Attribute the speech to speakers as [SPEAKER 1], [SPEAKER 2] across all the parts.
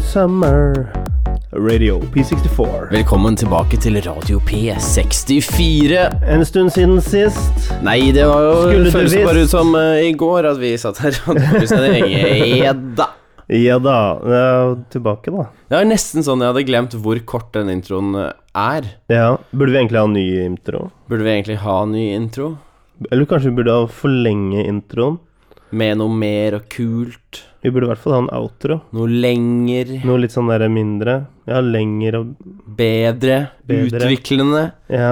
[SPEAKER 1] Summer Radio P64.
[SPEAKER 2] Velkommen tilbake til Radio P64.
[SPEAKER 1] En stund siden sist.
[SPEAKER 2] Nei, det var jo
[SPEAKER 1] Skulle du
[SPEAKER 2] føles
[SPEAKER 1] visst?
[SPEAKER 2] bare ut som eh, i går at vi satt her og hadde lyst til å ringe. Edda.
[SPEAKER 1] Ja da. eh, tilbake, da.
[SPEAKER 2] Det var nesten sånn jeg hadde glemt hvor kort den introen eh, er.
[SPEAKER 1] Ja, Burde vi egentlig ha en ny intro?
[SPEAKER 2] Burde vi egentlig ha en ny intro?
[SPEAKER 1] Eller kanskje vi burde ha forlenge introen?
[SPEAKER 2] Med noe mer og kult?
[SPEAKER 1] Vi burde i hvert fall ha en outro.
[SPEAKER 2] Noe lenger?
[SPEAKER 1] Noe litt sånn der mindre. Ja, lengre og
[SPEAKER 2] Bedre?
[SPEAKER 1] Bedre.
[SPEAKER 2] Utviklende?
[SPEAKER 1] Ja.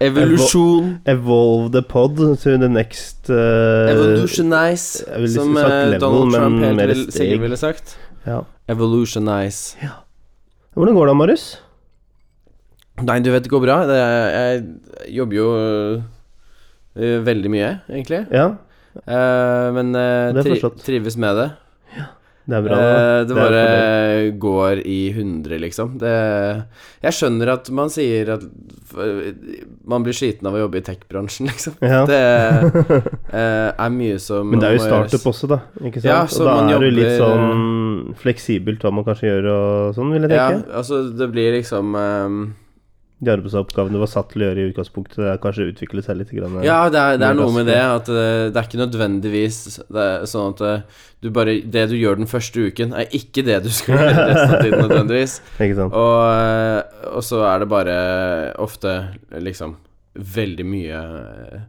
[SPEAKER 2] Evolusjon?
[SPEAKER 1] Evolve the pod to the next eh,
[SPEAKER 2] Evolutionize,
[SPEAKER 1] jeg ville
[SPEAKER 2] som
[SPEAKER 1] liksom sagt
[SPEAKER 2] eh,
[SPEAKER 1] level,
[SPEAKER 2] Donald
[SPEAKER 1] men
[SPEAKER 2] Trump helt
[SPEAKER 1] mer
[SPEAKER 2] vil,
[SPEAKER 1] steg.
[SPEAKER 2] sikkert ville sagt.
[SPEAKER 1] Ja.
[SPEAKER 2] Evolutionize.
[SPEAKER 1] Hvordan går det, Marius?
[SPEAKER 2] Nei, du vet det går bra. Det, jeg jobber jo øh, veldig mye, egentlig.
[SPEAKER 1] Ja,
[SPEAKER 2] Eh, men øh,
[SPEAKER 1] Det er
[SPEAKER 2] tri
[SPEAKER 1] forstått.
[SPEAKER 2] trives med det.
[SPEAKER 1] det er bra.
[SPEAKER 2] Eh,
[SPEAKER 1] da.
[SPEAKER 2] det
[SPEAKER 1] er
[SPEAKER 2] bare
[SPEAKER 1] for
[SPEAKER 2] går i hundre, liksom. Det, jeg skjønner at man sier at øh, man blir sliten av å jobbe i tech-bransjen, liksom.
[SPEAKER 1] det. ja.
[SPEAKER 2] Det eh, er mye som
[SPEAKER 1] Men det er jo
[SPEAKER 2] må
[SPEAKER 1] startup
[SPEAKER 2] gjøres.
[SPEAKER 1] også, da. Ikke sant?
[SPEAKER 2] Ja, så
[SPEAKER 1] og da
[SPEAKER 2] man
[SPEAKER 1] er det jo litt
[SPEAKER 2] jobber,
[SPEAKER 1] sånn fleksibelt hva man kanskje gjør og sånn, vil jeg
[SPEAKER 2] Ja,
[SPEAKER 1] tenke.
[SPEAKER 2] altså, det blir liksom eh,
[SPEAKER 1] De arbeidsoppgavene du var satt til å gjøre i utgangspunktet, det er kanskje å utvikle seg litt. Grann,
[SPEAKER 2] Ja, det er, det er
[SPEAKER 1] Mye
[SPEAKER 2] noe med det.
[SPEAKER 1] raskere.
[SPEAKER 2] At eh, det, det er ikke nødvendigvis det er sånn at eh, du bare, det du gjør den første uken, er ikke det du skal gjøre resten av tiden nødvendigvis.
[SPEAKER 1] Ikke sant?
[SPEAKER 2] Og, eh, og så er det bare ofte liksom veldig mye eh,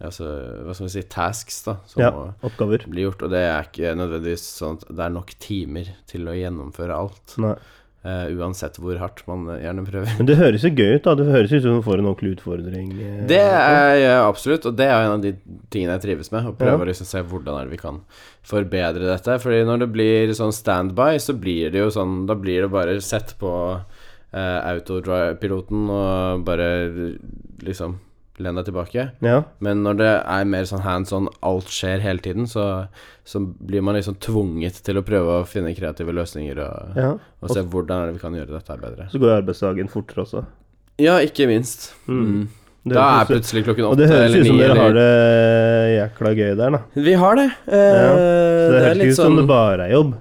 [SPEAKER 2] Altså, hva skal vi si, tasks, da, som
[SPEAKER 1] Ja,
[SPEAKER 2] må
[SPEAKER 1] oppgaver.
[SPEAKER 2] bli gjort. Og det er ikke nødvendigvis sånn at det er nok timer til å gjennomføre alt.
[SPEAKER 1] Nei.
[SPEAKER 2] eh, uansett hvor hardt man eh, gjerne prøver.
[SPEAKER 1] Men det høres jo gøy ut, da. Det høres ut som du får en ordentlig utfordring. eh,
[SPEAKER 2] Det er jeg absolutt, og det er en av de tingene jeg trives med. Å prøve
[SPEAKER 1] Ja.
[SPEAKER 2] å liksom se hvordan er det vi kan forbedre dette. Fordi når det blir sånn standby, så blir det jo sånn Da blir det bare sett på eh, autopiloten og bare liksom len deg tilbake.
[SPEAKER 1] Ja.
[SPEAKER 2] Men når det er mer sånn hands on, alt skjer hele tiden, så, så blir man liksom tvunget til å prøve å finne kreative løsninger og,
[SPEAKER 1] ja.
[SPEAKER 2] og se hvordan er det vi kan gjøre dette her bedre.
[SPEAKER 1] Så går jo arbeidsdagen fortere også.
[SPEAKER 2] Ja, ikke minst. Mm.
[SPEAKER 1] Det
[SPEAKER 2] Da er
[SPEAKER 1] høres ut-
[SPEAKER 2] plutselig klokken
[SPEAKER 1] og det
[SPEAKER 2] åtte
[SPEAKER 1] høres
[SPEAKER 2] eller
[SPEAKER 1] ut som
[SPEAKER 2] ni
[SPEAKER 1] dere har
[SPEAKER 2] eller
[SPEAKER 1] det jækla gøy der, da.
[SPEAKER 2] Vi har det. Eh,
[SPEAKER 1] Ja,
[SPEAKER 2] det,
[SPEAKER 1] Så det,
[SPEAKER 2] er
[SPEAKER 1] høres ikke
[SPEAKER 2] litt
[SPEAKER 1] ut som
[SPEAKER 2] sånn
[SPEAKER 1] det bare er jobb.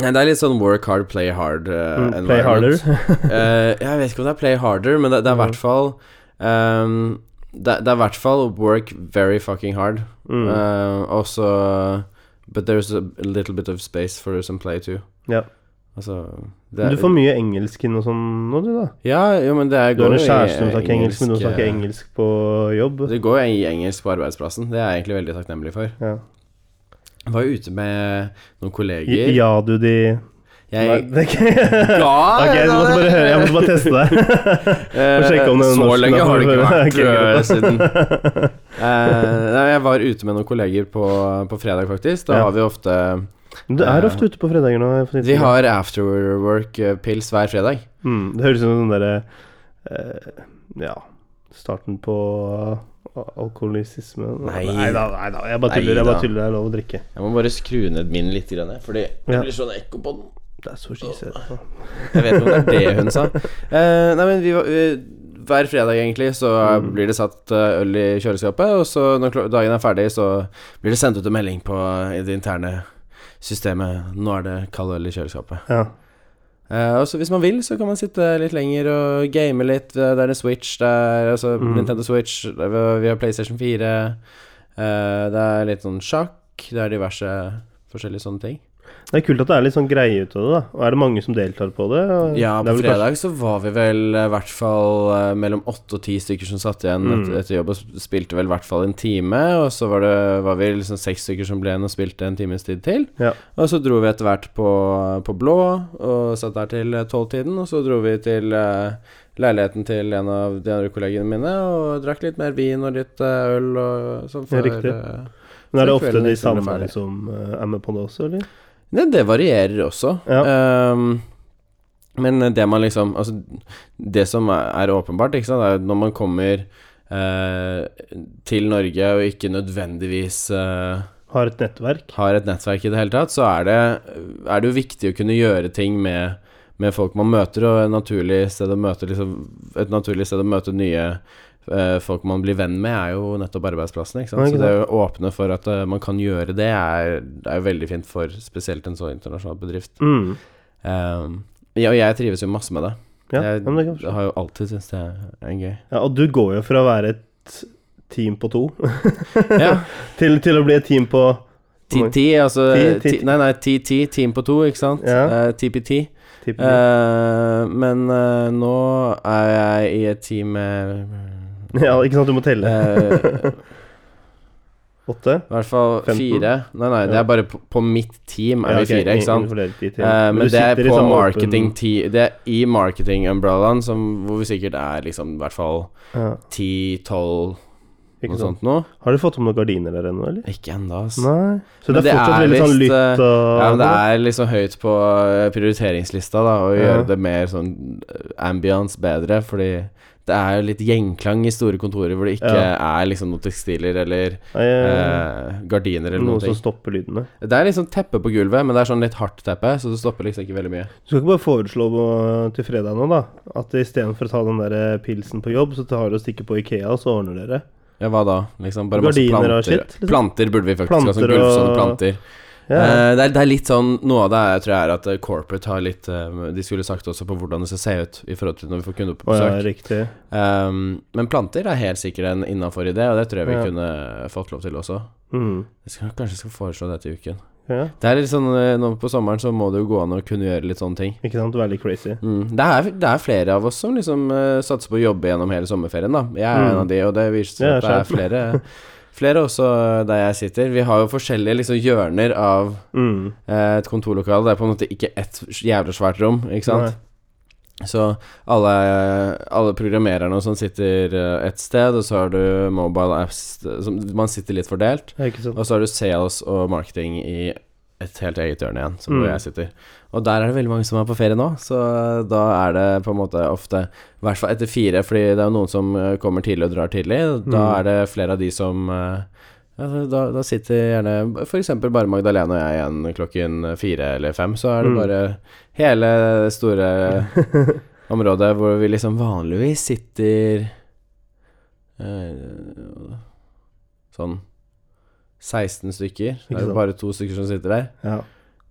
[SPEAKER 2] Nei, Det er litt sånn work hard, play hard. eh,
[SPEAKER 1] Mm, Play harder.
[SPEAKER 2] environment. Eh, jeg vet ikke om det er play harder, men det, det er i hvert fall ehm, det, det er i hvert fall work very fucking hard.
[SPEAKER 1] Mm.
[SPEAKER 2] Eh, og så But there's a little bit of space for some play too.
[SPEAKER 1] Ja.
[SPEAKER 2] Altså det
[SPEAKER 1] Men
[SPEAKER 2] er-
[SPEAKER 1] Du får mye engelsk inn og sånn nå, du, da.
[SPEAKER 2] Ja, jo, men det er
[SPEAKER 1] Du har
[SPEAKER 2] går
[SPEAKER 1] en
[SPEAKER 2] jo i
[SPEAKER 1] kjæreste som snakker engelsk, men du snakker
[SPEAKER 2] eh,
[SPEAKER 1] engelsk på jobb.
[SPEAKER 2] Det går jo i engelsk på arbeidsplassen. Det er jeg egentlig veldig takknemlig for.
[SPEAKER 1] Ja,
[SPEAKER 2] Jeg var jo ute med noen kolleger.
[SPEAKER 1] I- ja du, de Nei,
[SPEAKER 2] Jeg
[SPEAKER 1] det er ikke
[SPEAKER 2] Ja,
[SPEAKER 1] Ok, jeg måtte bare høre, jeg måtte bare teste deg.
[SPEAKER 2] Eh,
[SPEAKER 1] Få sjekke om den
[SPEAKER 2] Så
[SPEAKER 1] norsken
[SPEAKER 2] lenge
[SPEAKER 1] er
[SPEAKER 2] har det ikke
[SPEAKER 1] for-
[SPEAKER 2] vært
[SPEAKER 1] Ok,
[SPEAKER 2] eh,
[SPEAKER 1] greit.
[SPEAKER 2] siden. Eh, nei, jeg var ute med noen kolleger på, på fredag, faktisk. Da
[SPEAKER 1] Ja.
[SPEAKER 2] har vi ofte
[SPEAKER 1] Men Du er ofte ute på fredager nå. for
[SPEAKER 2] Vi
[SPEAKER 1] tiden.
[SPEAKER 2] har afterwork-pils hver fredag.
[SPEAKER 1] mm, Det høres ut som den derre eh, Ja, starten på al- alkoholisme.
[SPEAKER 2] Nei.
[SPEAKER 1] da, nei da. Jeg bare tuller.
[SPEAKER 2] Nei
[SPEAKER 1] Jeg
[SPEAKER 2] da.
[SPEAKER 1] bare tuller. Det er lov å drikke.
[SPEAKER 2] Jeg må bare skru ned min litt, grann, jeg, fordi det
[SPEAKER 1] Ja.
[SPEAKER 2] blir sånn ekko på den.
[SPEAKER 1] Det er så skisert.
[SPEAKER 2] Jeg vet ikke om det er det hun sa. Eh, nei, men vi var eh, hver fredag, egentlig, så blir det satt eh, øl i kjøleskapet, og så når klo- dagen er ferdig, så blir det sendt ut en melding på i det interne systemet 'Nå er det kald øl i kjøleskapet'.
[SPEAKER 1] Ja.
[SPEAKER 2] Eh, og så hvis man vil, så kan man sitte litt lenger og game litt. Eh, Det er en Switch, det er altså
[SPEAKER 1] Mm.
[SPEAKER 2] Nintendo Switch, det er- vi har PlayStation 4. eh, det er litt sånn sjakk, det er diverse forskjellige sånne ting.
[SPEAKER 1] Det er kult at det er litt sånn greie ut av det, da. Og er det mange som deltar på det? Og
[SPEAKER 2] Ja,
[SPEAKER 1] det
[SPEAKER 2] på
[SPEAKER 1] er vel kanskje-
[SPEAKER 2] fredag så var vi vel eh, i hvert fall eh, mellom åtte og ti stykker som satt igjen
[SPEAKER 1] Mm.
[SPEAKER 2] etter, etter jobb og sp- spilte vel i hvert fall en time. Og så var, det, var vi liksom seks stykker som ble igjen og spilte en times tid til.
[SPEAKER 1] Ja.
[SPEAKER 2] Og så dro vi etter hvert på, på Blå og satt der til eh, tolvtiden. Og så dro vi til eh, leiligheten til en av de andre kollegene mine og drakk litt mer vin og litt eh, øl og sånn.
[SPEAKER 1] Ja,
[SPEAKER 2] før,
[SPEAKER 1] riktig.
[SPEAKER 2] eh,
[SPEAKER 1] Men er det
[SPEAKER 2] så
[SPEAKER 1] ofte
[SPEAKER 2] kvelden
[SPEAKER 1] de
[SPEAKER 2] liksom ble
[SPEAKER 1] samme
[SPEAKER 2] ferdig.
[SPEAKER 1] som eh, er med på det også, eller?
[SPEAKER 2] Nei, det varierer også.
[SPEAKER 1] Ja.
[SPEAKER 2] Ehm, men det man liksom Altså, det som er, er åpenbart, ikke sant, er at når man kommer eh, til Norge og ikke nødvendigvis eh,
[SPEAKER 1] Har et nettverk?
[SPEAKER 2] har et nettverk i det hele tatt, så er det, er det jo viktig å kunne gjøre ting med, med folk man møter, og et naturlig sted å møte, liksom, et naturlig sted å møte nye eh, folk man blir venn med, er jo nettopp arbeidsplassen. Ikke sant?
[SPEAKER 1] Ja, ikke
[SPEAKER 2] Så det å åpne for at eh, man kan gjøre det, er, er jo veldig fint for spesielt en så internasjonal bedrift.
[SPEAKER 1] Mm.
[SPEAKER 2] Ehm, ja, og jeg trives jo masse med det.
[SPEAKER 1] Ja,
[SPEAKER 2] jeg
[SPEAKER 1] men det kan jeg forstå.
[SPEAKER 2] har jo alltid syntes det er gøy.
[SPEAKER 1] ja, og du går jo fra å være et team på to
[SPEAKER 2] Ja,
[SPEAKER 1] til, til å bli et team på
[SPEAKER 2] TT, altså
[SPEAKER 1] Ti- ti-
[SPEAKER 2] ti- Nei, nei, TT, Team på to, ikke sant?
[SPEAKER 1] Ja.
[SPEAKER 2] Eh, TPT.
[SPEAKER 1] typ,
[SPEAKER 2] Eh, men eh, nå er jeg i et team med
[SPEAKER 1] Ja, ikke sant? Du må telle.
[SPEAKER 2] eh,
[SPEAKER 1] Åtte?
[SPEAKER 2] I hvert fall
[SPEAKER 1] 15?
[SPEAKER 2] fire. Nei, nei, det
[SPEAKER 1] Ja.
[SPEAKER 2] er bare på, på mitt team er
[SPEAKER 1] Ja,
[SPEAKER 2] vi
[SPEAKER 1] ok,
[SPEAKER 2] fire, ikke sant?
[SPEAKER 1] innenfor dere de til.
[SPEAKER 2] Eh, men
[SPEAKER 1] du
[SPEAKER 2] det er
[SPEAKER 1] sitter i
[SPEAKER 2] på
[SPEAKER 1] sånn åpen-
[SPEAKER 2] marketing ti- Det er i marketing-umbrellaen, som- hvor vi sikkert er liksom i hvert fall
[SPEAKER 1] Ja,
[SPEAKER 2] 10-12,
[SPEAKER 1] ikke
[SPEAKER 2] noe
[SPEAKER 1] sant.
[SPEAKER 2] sånt nå.
[SPEAKER 1] Har du fått om noen gardiner der ennå, eller?
[SPEAKER 2] Ikke ennå, ass.
[SPEAKER 1] Nei. Så
[SPEAKER 2] Men
[SPEAKER 1] det
[SPEAKER 2] det
[SPEAKER 1] er
[SPEAKER 2] er
[SPEAKER 1] fortsatt veldig sånn
[SPEAKER 2] visst, eh,
[SPEAKER 1] lytt og
[SPEAKER 2] Ja, men det er liksom høyt på eh, prioriteringslista, da, å
[SPEAKER 1] Ja.
[SPEAKER 2] gjøre det mer sånn eh, ambiance bedre, fordi det er jo litt gjengklang i store kontorer hvor det ikke er liksom noen tekstiler eller
[SPEAKER 1] Nei, eh,
[SPEAKER 2] eh, gardiner eller
[SPEAKER 1] Noe
[SPEAKER 2] noe.
[SPEAKER 1] som
[SPEAKER 2] ting
[SPEAKER 1] stopper lydene.
[SPEAKER 2] Det er liksom teppe på gulvet, men det er sånn litt hardt teppe, så det stopper liksom ikke veldig mye.
[SPEAKER 1] Du skal ikke bare foreslå på- til fredag nå, da, at istedenfor å ta den der eh, pilsen på jobb, så tar dere og stikker på Ikea, og så ordner dere.
[SPEAKER 2] Ja, hva da? Liksom bare masse
[SPEAKER 1] Gardiner
[SPEAKER 2] planter.
[SPEAKER 1] og shit, liksom.
[SPEAKER 2] Planter burde vi faktisk ha, sånn
[SPEAKER 1] Planter og-
[SPEAKER 2] gulvsånne planter.
[SPEAKER 1] Ja.
[SPEAKER 2] Eh, det, er, det er litt sånn Noe av det er, tror jeg er at eh, corporate har litt eh, De skulle sagt også på hvordan det skal se ut i forhold til når vi får kunder på
[SPEAKER 1] Å
[SPEAKER 2] besøk.
[SPEAKER 1] ja, riktig.
[SPEAKER 2] Ehm, men planter er helt sikkert en innafor idé, og det tror jeg vi
[SPEAKER 1] Ja.
[SPEAKER 2] kunne fått lov til også.
[SPEAKER 1] Mm.
[SPEAKER 2] Jeg skal, kanskje skal foreslå det til uken.
[SPEAKER 1] Ja,
[SPEAKER 2] Det er litt sånn, eh, nå På sommeren så må det jo gå an å kunne gjøre litt sånne ting.
[SPEAKER 1] ikke sant? Veldig crazy.
[SPEAKER 2] Mm. Det, er, det er flere av oss som liksom eh, satser på å jobbe gjennom hele sommerferien, da. Jeg
[SPEAKER 1] Mm.
[SPEAKER 2] er en av de, og det viser seg
[SPEAKER 1] Ja,
[SPEAKER 2] at det er flere, flere også der jeg sitter. Vi har jo forskjellige liksom hjørner av
[SPEAKER 1] Mm.
[SPEAKER 2] eh, et kontorlokale. Det er på en måte ikke ett jævla svært rom, ikke sant. Så alle, alle programmererne og sånn sitter eh, et sted, og så har du mobile apps eh, som Man sitter litt fordelt.
[SPEAKER 1] Nei, ikke sant.
[SPEAKER 2] Og så har du sales og marketing i et helt eget hjørne igjen, som
[SPEAKER 1] Mm.
[SPEAKER 2] hvor jeg sitter. Og der er det veldig mange som er på ferie nå, så da er det på en måte ofte I hvert fall etter fire, fordi det er jo noen som eh, kommer tidlig og drar tidlig.
[SPEAKER 1] Mm.
[SPEAKER 2] Da er det flere av de som eh, ja, da, da sitter gjerne f.eks. bare Magdalene og jeg igjen klokken fire eller fem. Så er det
[SPEAKER 1] Mm.
[SPEAKER 2] bare hele det store eh, området hvor vi liksom vanligvis sitter eh, Sånn 16 stykker.
[SPEAKER 1] Ikke
[SPEAKER 2] Da er det
[SPEAKER 1] sant.
[SPEAKER 2] bare to stykker som sitter der.
[SPEAKER 1] Ja.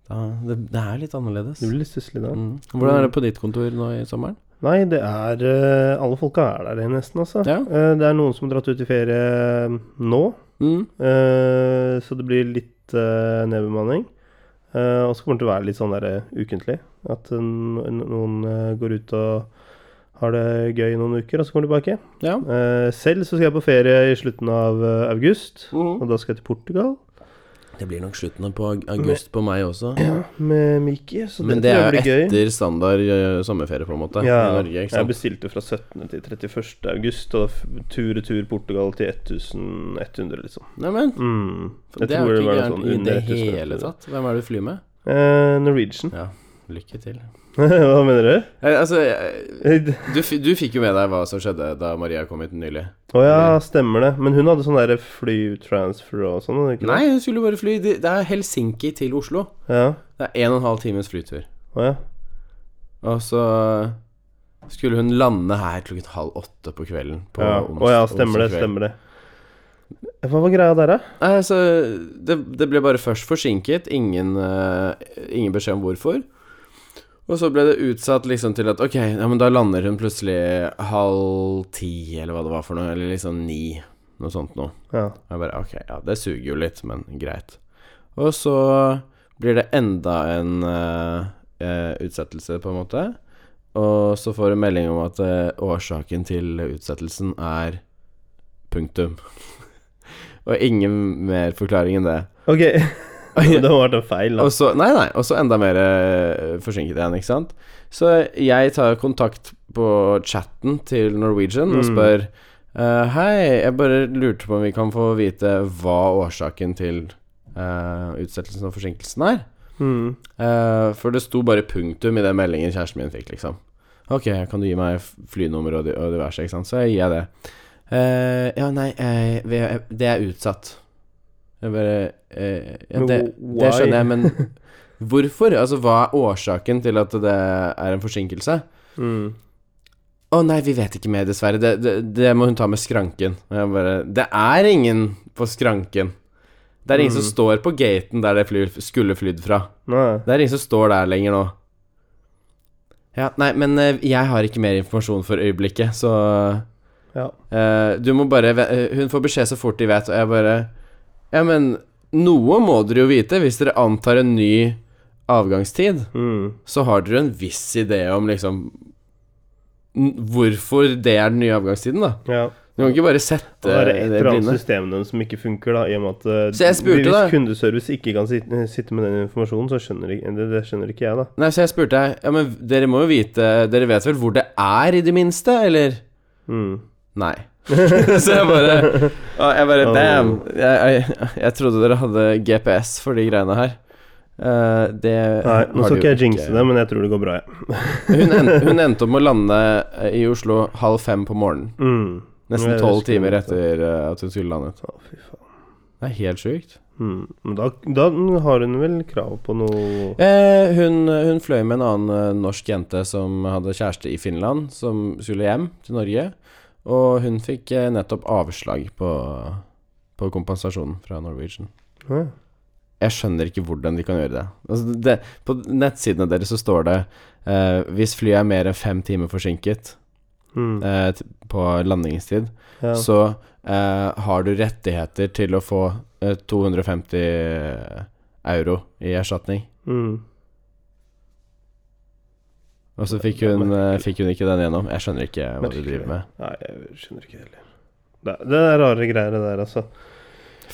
[SPEAKER 2] Da, det, det er litt annerledes.
[SPEAKER 1] Du blir litt stusslig da.
[SPEAKER 2] Mm. Hvordan er det på ditt kontor nå i sommeren?
[SPEAKER 1] Nei, det er eh, Alle folka er der nesten, altså.
[SPEAKER 2] Ja.
[SPEAKER 1] Eh, Det er noen som har dratt ut i ferie eh, nå,
[SPEAKER 2] Mm.
[SPEAKER 1] eh, så det blir litt eh, nedbemanning. Eh, Og så kommer det til å være litt sånn der eh, ukentlig. At eh, noen eh, går ut og har det gøy i noen uker, og så kommer de tilbake.
[SPEAKER 2] Ja.
[SPEAKER 1] Eh, Selv så skal jeg på ferie i slutten av eh, august,
[SPEAKER 2] Mhm.
[SPEAKER 1] og da skal jeg til Portugal
[SPEAKER 2] Det blir nok slutten på ag- august på meg også.
[SPEAKER 1] med Miki. Så det,
[SPEAKER 2] Men det er
[SPEAKER 1] tror jeg
[SPEAKER 2] jo
[SPEAKER 1] blir gøy.
[SPEAKER 2] etter standard eh, sommerferie, på en måte, i Norge. ikke
[SPEAKER 1] jeg
[SPEAKER 2] sant?
[SPEAKER 1] bestilte fra 17. til 31. august, og tur-retur Portugal til 1100, liksom.
[SPEAKER 2] Nei, men
[SPEAKER 1] Mm.
[SPEAKER 2] det er jo ikke
[SPEAKER 1] sånn
[SPEAKER 2] gærent i det hele tatt. Hvem er det du flyr med?
[SPEAKER 1] Eh, Norwegian.
[SPEAKER 2] Ja, lykke til.
[SPEAKER 1] Hva mener du?
[SPEAKER 2] altså, eh,
[SPEAKER 1] Eh,
[SPEAKER 2] du, fi- du fikk jo med deg hva som skjedde da Maria kom hit nylig.
[SPEAKER 1] Å ja, stemmer det. Men hun hadde sånn derre flytransfer og sånn, hadde hun ikke det?
[SPEAKER 2] Nei, hun skulle bare fly. Det det er Helsinki til Oslo.
[SPEAKER 1] Ja.
[SPEAKER 2] Det er en og en halv times flytur.
[SPEAKER 1] Å ja.
[SPEAKER 2] Og så skulle hun lande her klokken halv åtte på kvelden. På
[SPEAKER 1] ja.
[SPEAKER 2] ons-
[SPEAKER 1] Å ja, stemmer det,
[SPEAKER 2] onsdag kveld.
[SPEAKER 1] stemmer det. Hva var greia der, da?
[SPEAKER 2] Nei, altså, det, det ble bare først forsinket. Ingen, eh, ingen beskjed om hvorfor. Og så ble det utsatt liksom til at ok, ja, men da lander hun plutselig halv ti, eller hva det var for noe. Eller liksom ni, noe sånt noe.
[SPEAKER 1] Ja.
[SPEAKER 2] Og jeg bare ok, ja, det suger jo litt, men greit. Og så blir det enda en eh, eh, utsettelse, på en måte. Og så får hun melding om at eh, årsaken til utsettelsen er punktum. og ingen mer forklaring enn det.
[SPEAKER 1] Ok. det må ha vært en feil, da.
[SPEAKER 2] Og så, nei, nei, og så enda mer eh, forsinket igjen, ikke sant. Så jeg tar kontakt på chatten til Norwegian og
[SPEAKER 1] Mm.
[SPEAKER 2] spør eh, Hei, jeg bare lurte på om vi kan få vite hva årsaken til eh, utsettelsen og forsinkelsen er.
[SPEAKER 1] Mm.
[SPEAKER 2] Eh, for det sto bare punktum i den meldingen kjæresten min fikk, liksom. Ok, kan du gi meg f- flynummer og, di- og diverse, ikke sant? Så jeg gir jeg det. Eh, ja, nei, eh, vi- det er utsatt. Jeg bare eh, ja,
[SPEAKER 1] Men
[SPEAKER 2] det,
[SPEAKER 1] wh-
[SPEAKER 2] det skjønner
[SPEAKER 1] why?
[SPEAKER 2] jeg, men hvorfor? Altså, hva er årsaken til at det er en forsinkelse?
[SPEAKER 1] Mm.
[SPEAKER 2] Å nei, vi vet ikke mer, dessverre. Det, det, det må hun ta med skranken. Og jeg bare Det er ingen på skranken. Det er ingen som
[SPEAKER 1] Mm.
[SPEAKER 2] står på gaten der det fly, skulle flydd fra.
[SPEAKER 1] Nei.
[SPEAKER 2] Det er ingen som står der lenger nå. Ja, nei, men eh, jeg har ikke mer informasjon for øyeblikket, så
[SPEAKER 1] Ja.
[SPEAKER 2] eh, Du må bare ve- eh, Hun får beskjed så fort de vet, og jeg bare Ja, men noe må dere jo vite. Hvis dere antar en ny avgangstid,
[SPEAKER 1] Mm.
[SPEAKER 2] så har dere en viss idé om liksom n- Hvorfor det er den nye avgangstiden, da.
[SPEAKER 1] ja.
[SPEAKER 2] Du kan ikke bare sette
[SPEAKER 1] Og det er et
[SPEAKER 2] det
[SPEAKER 1] eller annet
[SPEAKER 2] blinde.
[SPEAKER 1] system deres som ikke funker, da, i og med at eh,
[SPEAKER 2] Så jeg spurte
[SPEAKER 1] hvis
[SPEAKER 2] da-
[SPEAKER 1] kundeservice ikke kan sitte, sitte med den informasjonen, så skjønner ikke, det, det skjønner ikke jeg, da.
[SPEAKER 2] Nei, så jeg spurte deg Ja, men dere må jo vite Dere vet vel hvor det er, i det minste, eller?
[SPEAKER 1] Mm.
[SPEAKER 2] Nei. så jeg bare å, Jeg bare Damn! Jeg, jeg, jeg trodde dere hadde GPS for de greiene her. Eh, det
[SPEAKER 1] Nei, nå
[SPEAKER 2] har
[SPEAKER 1] skal
[SPEAKER 2] de
[SPEAKER 1] ikke
[SPEAKER 2] jo
[SPEAKER 1] jeg jinxe det, men jeg tror det går bra, jeg.
[SPEAKER 2] hun, en, hun endte opp med å lande eh, i Oslo halv fem på morgenen.
[SPEAKER 1] Mm.
[SPEAKER 2] Nesten
[SPEAKER 1] Jeg
[SPEAKER 2] tolv
[SPEAKER 1] husker
[SPEAKER 2] timer
[SPEAKER 1] det.
[SPEAKER 2] etter eh, at hun skulle landet.
[SPEAKER 1] Å, fy faen.
[SPEAKER 2] Det er helt sjukt.
[SPEAKER 1] Mm. Men da, da har hun vel krav på noe
[SPEAKER 2] Eh, hun, hun fløy med en annen eh, norsk jente som hadde kjæreste i Finland, som skulle hjem til Norge. Og hun fikk eh, nettopp avslag på, på kompensasjonen fra Norwegian.
[SPEAKER 1] ja.
[SPEAKER 2] Jeg skjønner ikke hvordan de kan gjøre det. Altså det på nettsidene deres så står det eh, hvis flyet er mer enn fem timer forsinket
[SPEAKER 1] Mm.
[SPEAKER 2] eh, t- på landingstid,
[SPEAKER 1] ja.
[SPEAKER 2] så eh, har du rettigheter til å få eh, 250 euro i erstatning.
[SPEAKER 1] Mm.
[SPEAKER 2] Og så fikk hun, eh, fikk hun ikke den gjennom. Jeg skjønner ikke hva du driver med.
[SPEAKER 1] Nei, jeg skjønner ikke det heller. Det, det er rare greier, det der, altså.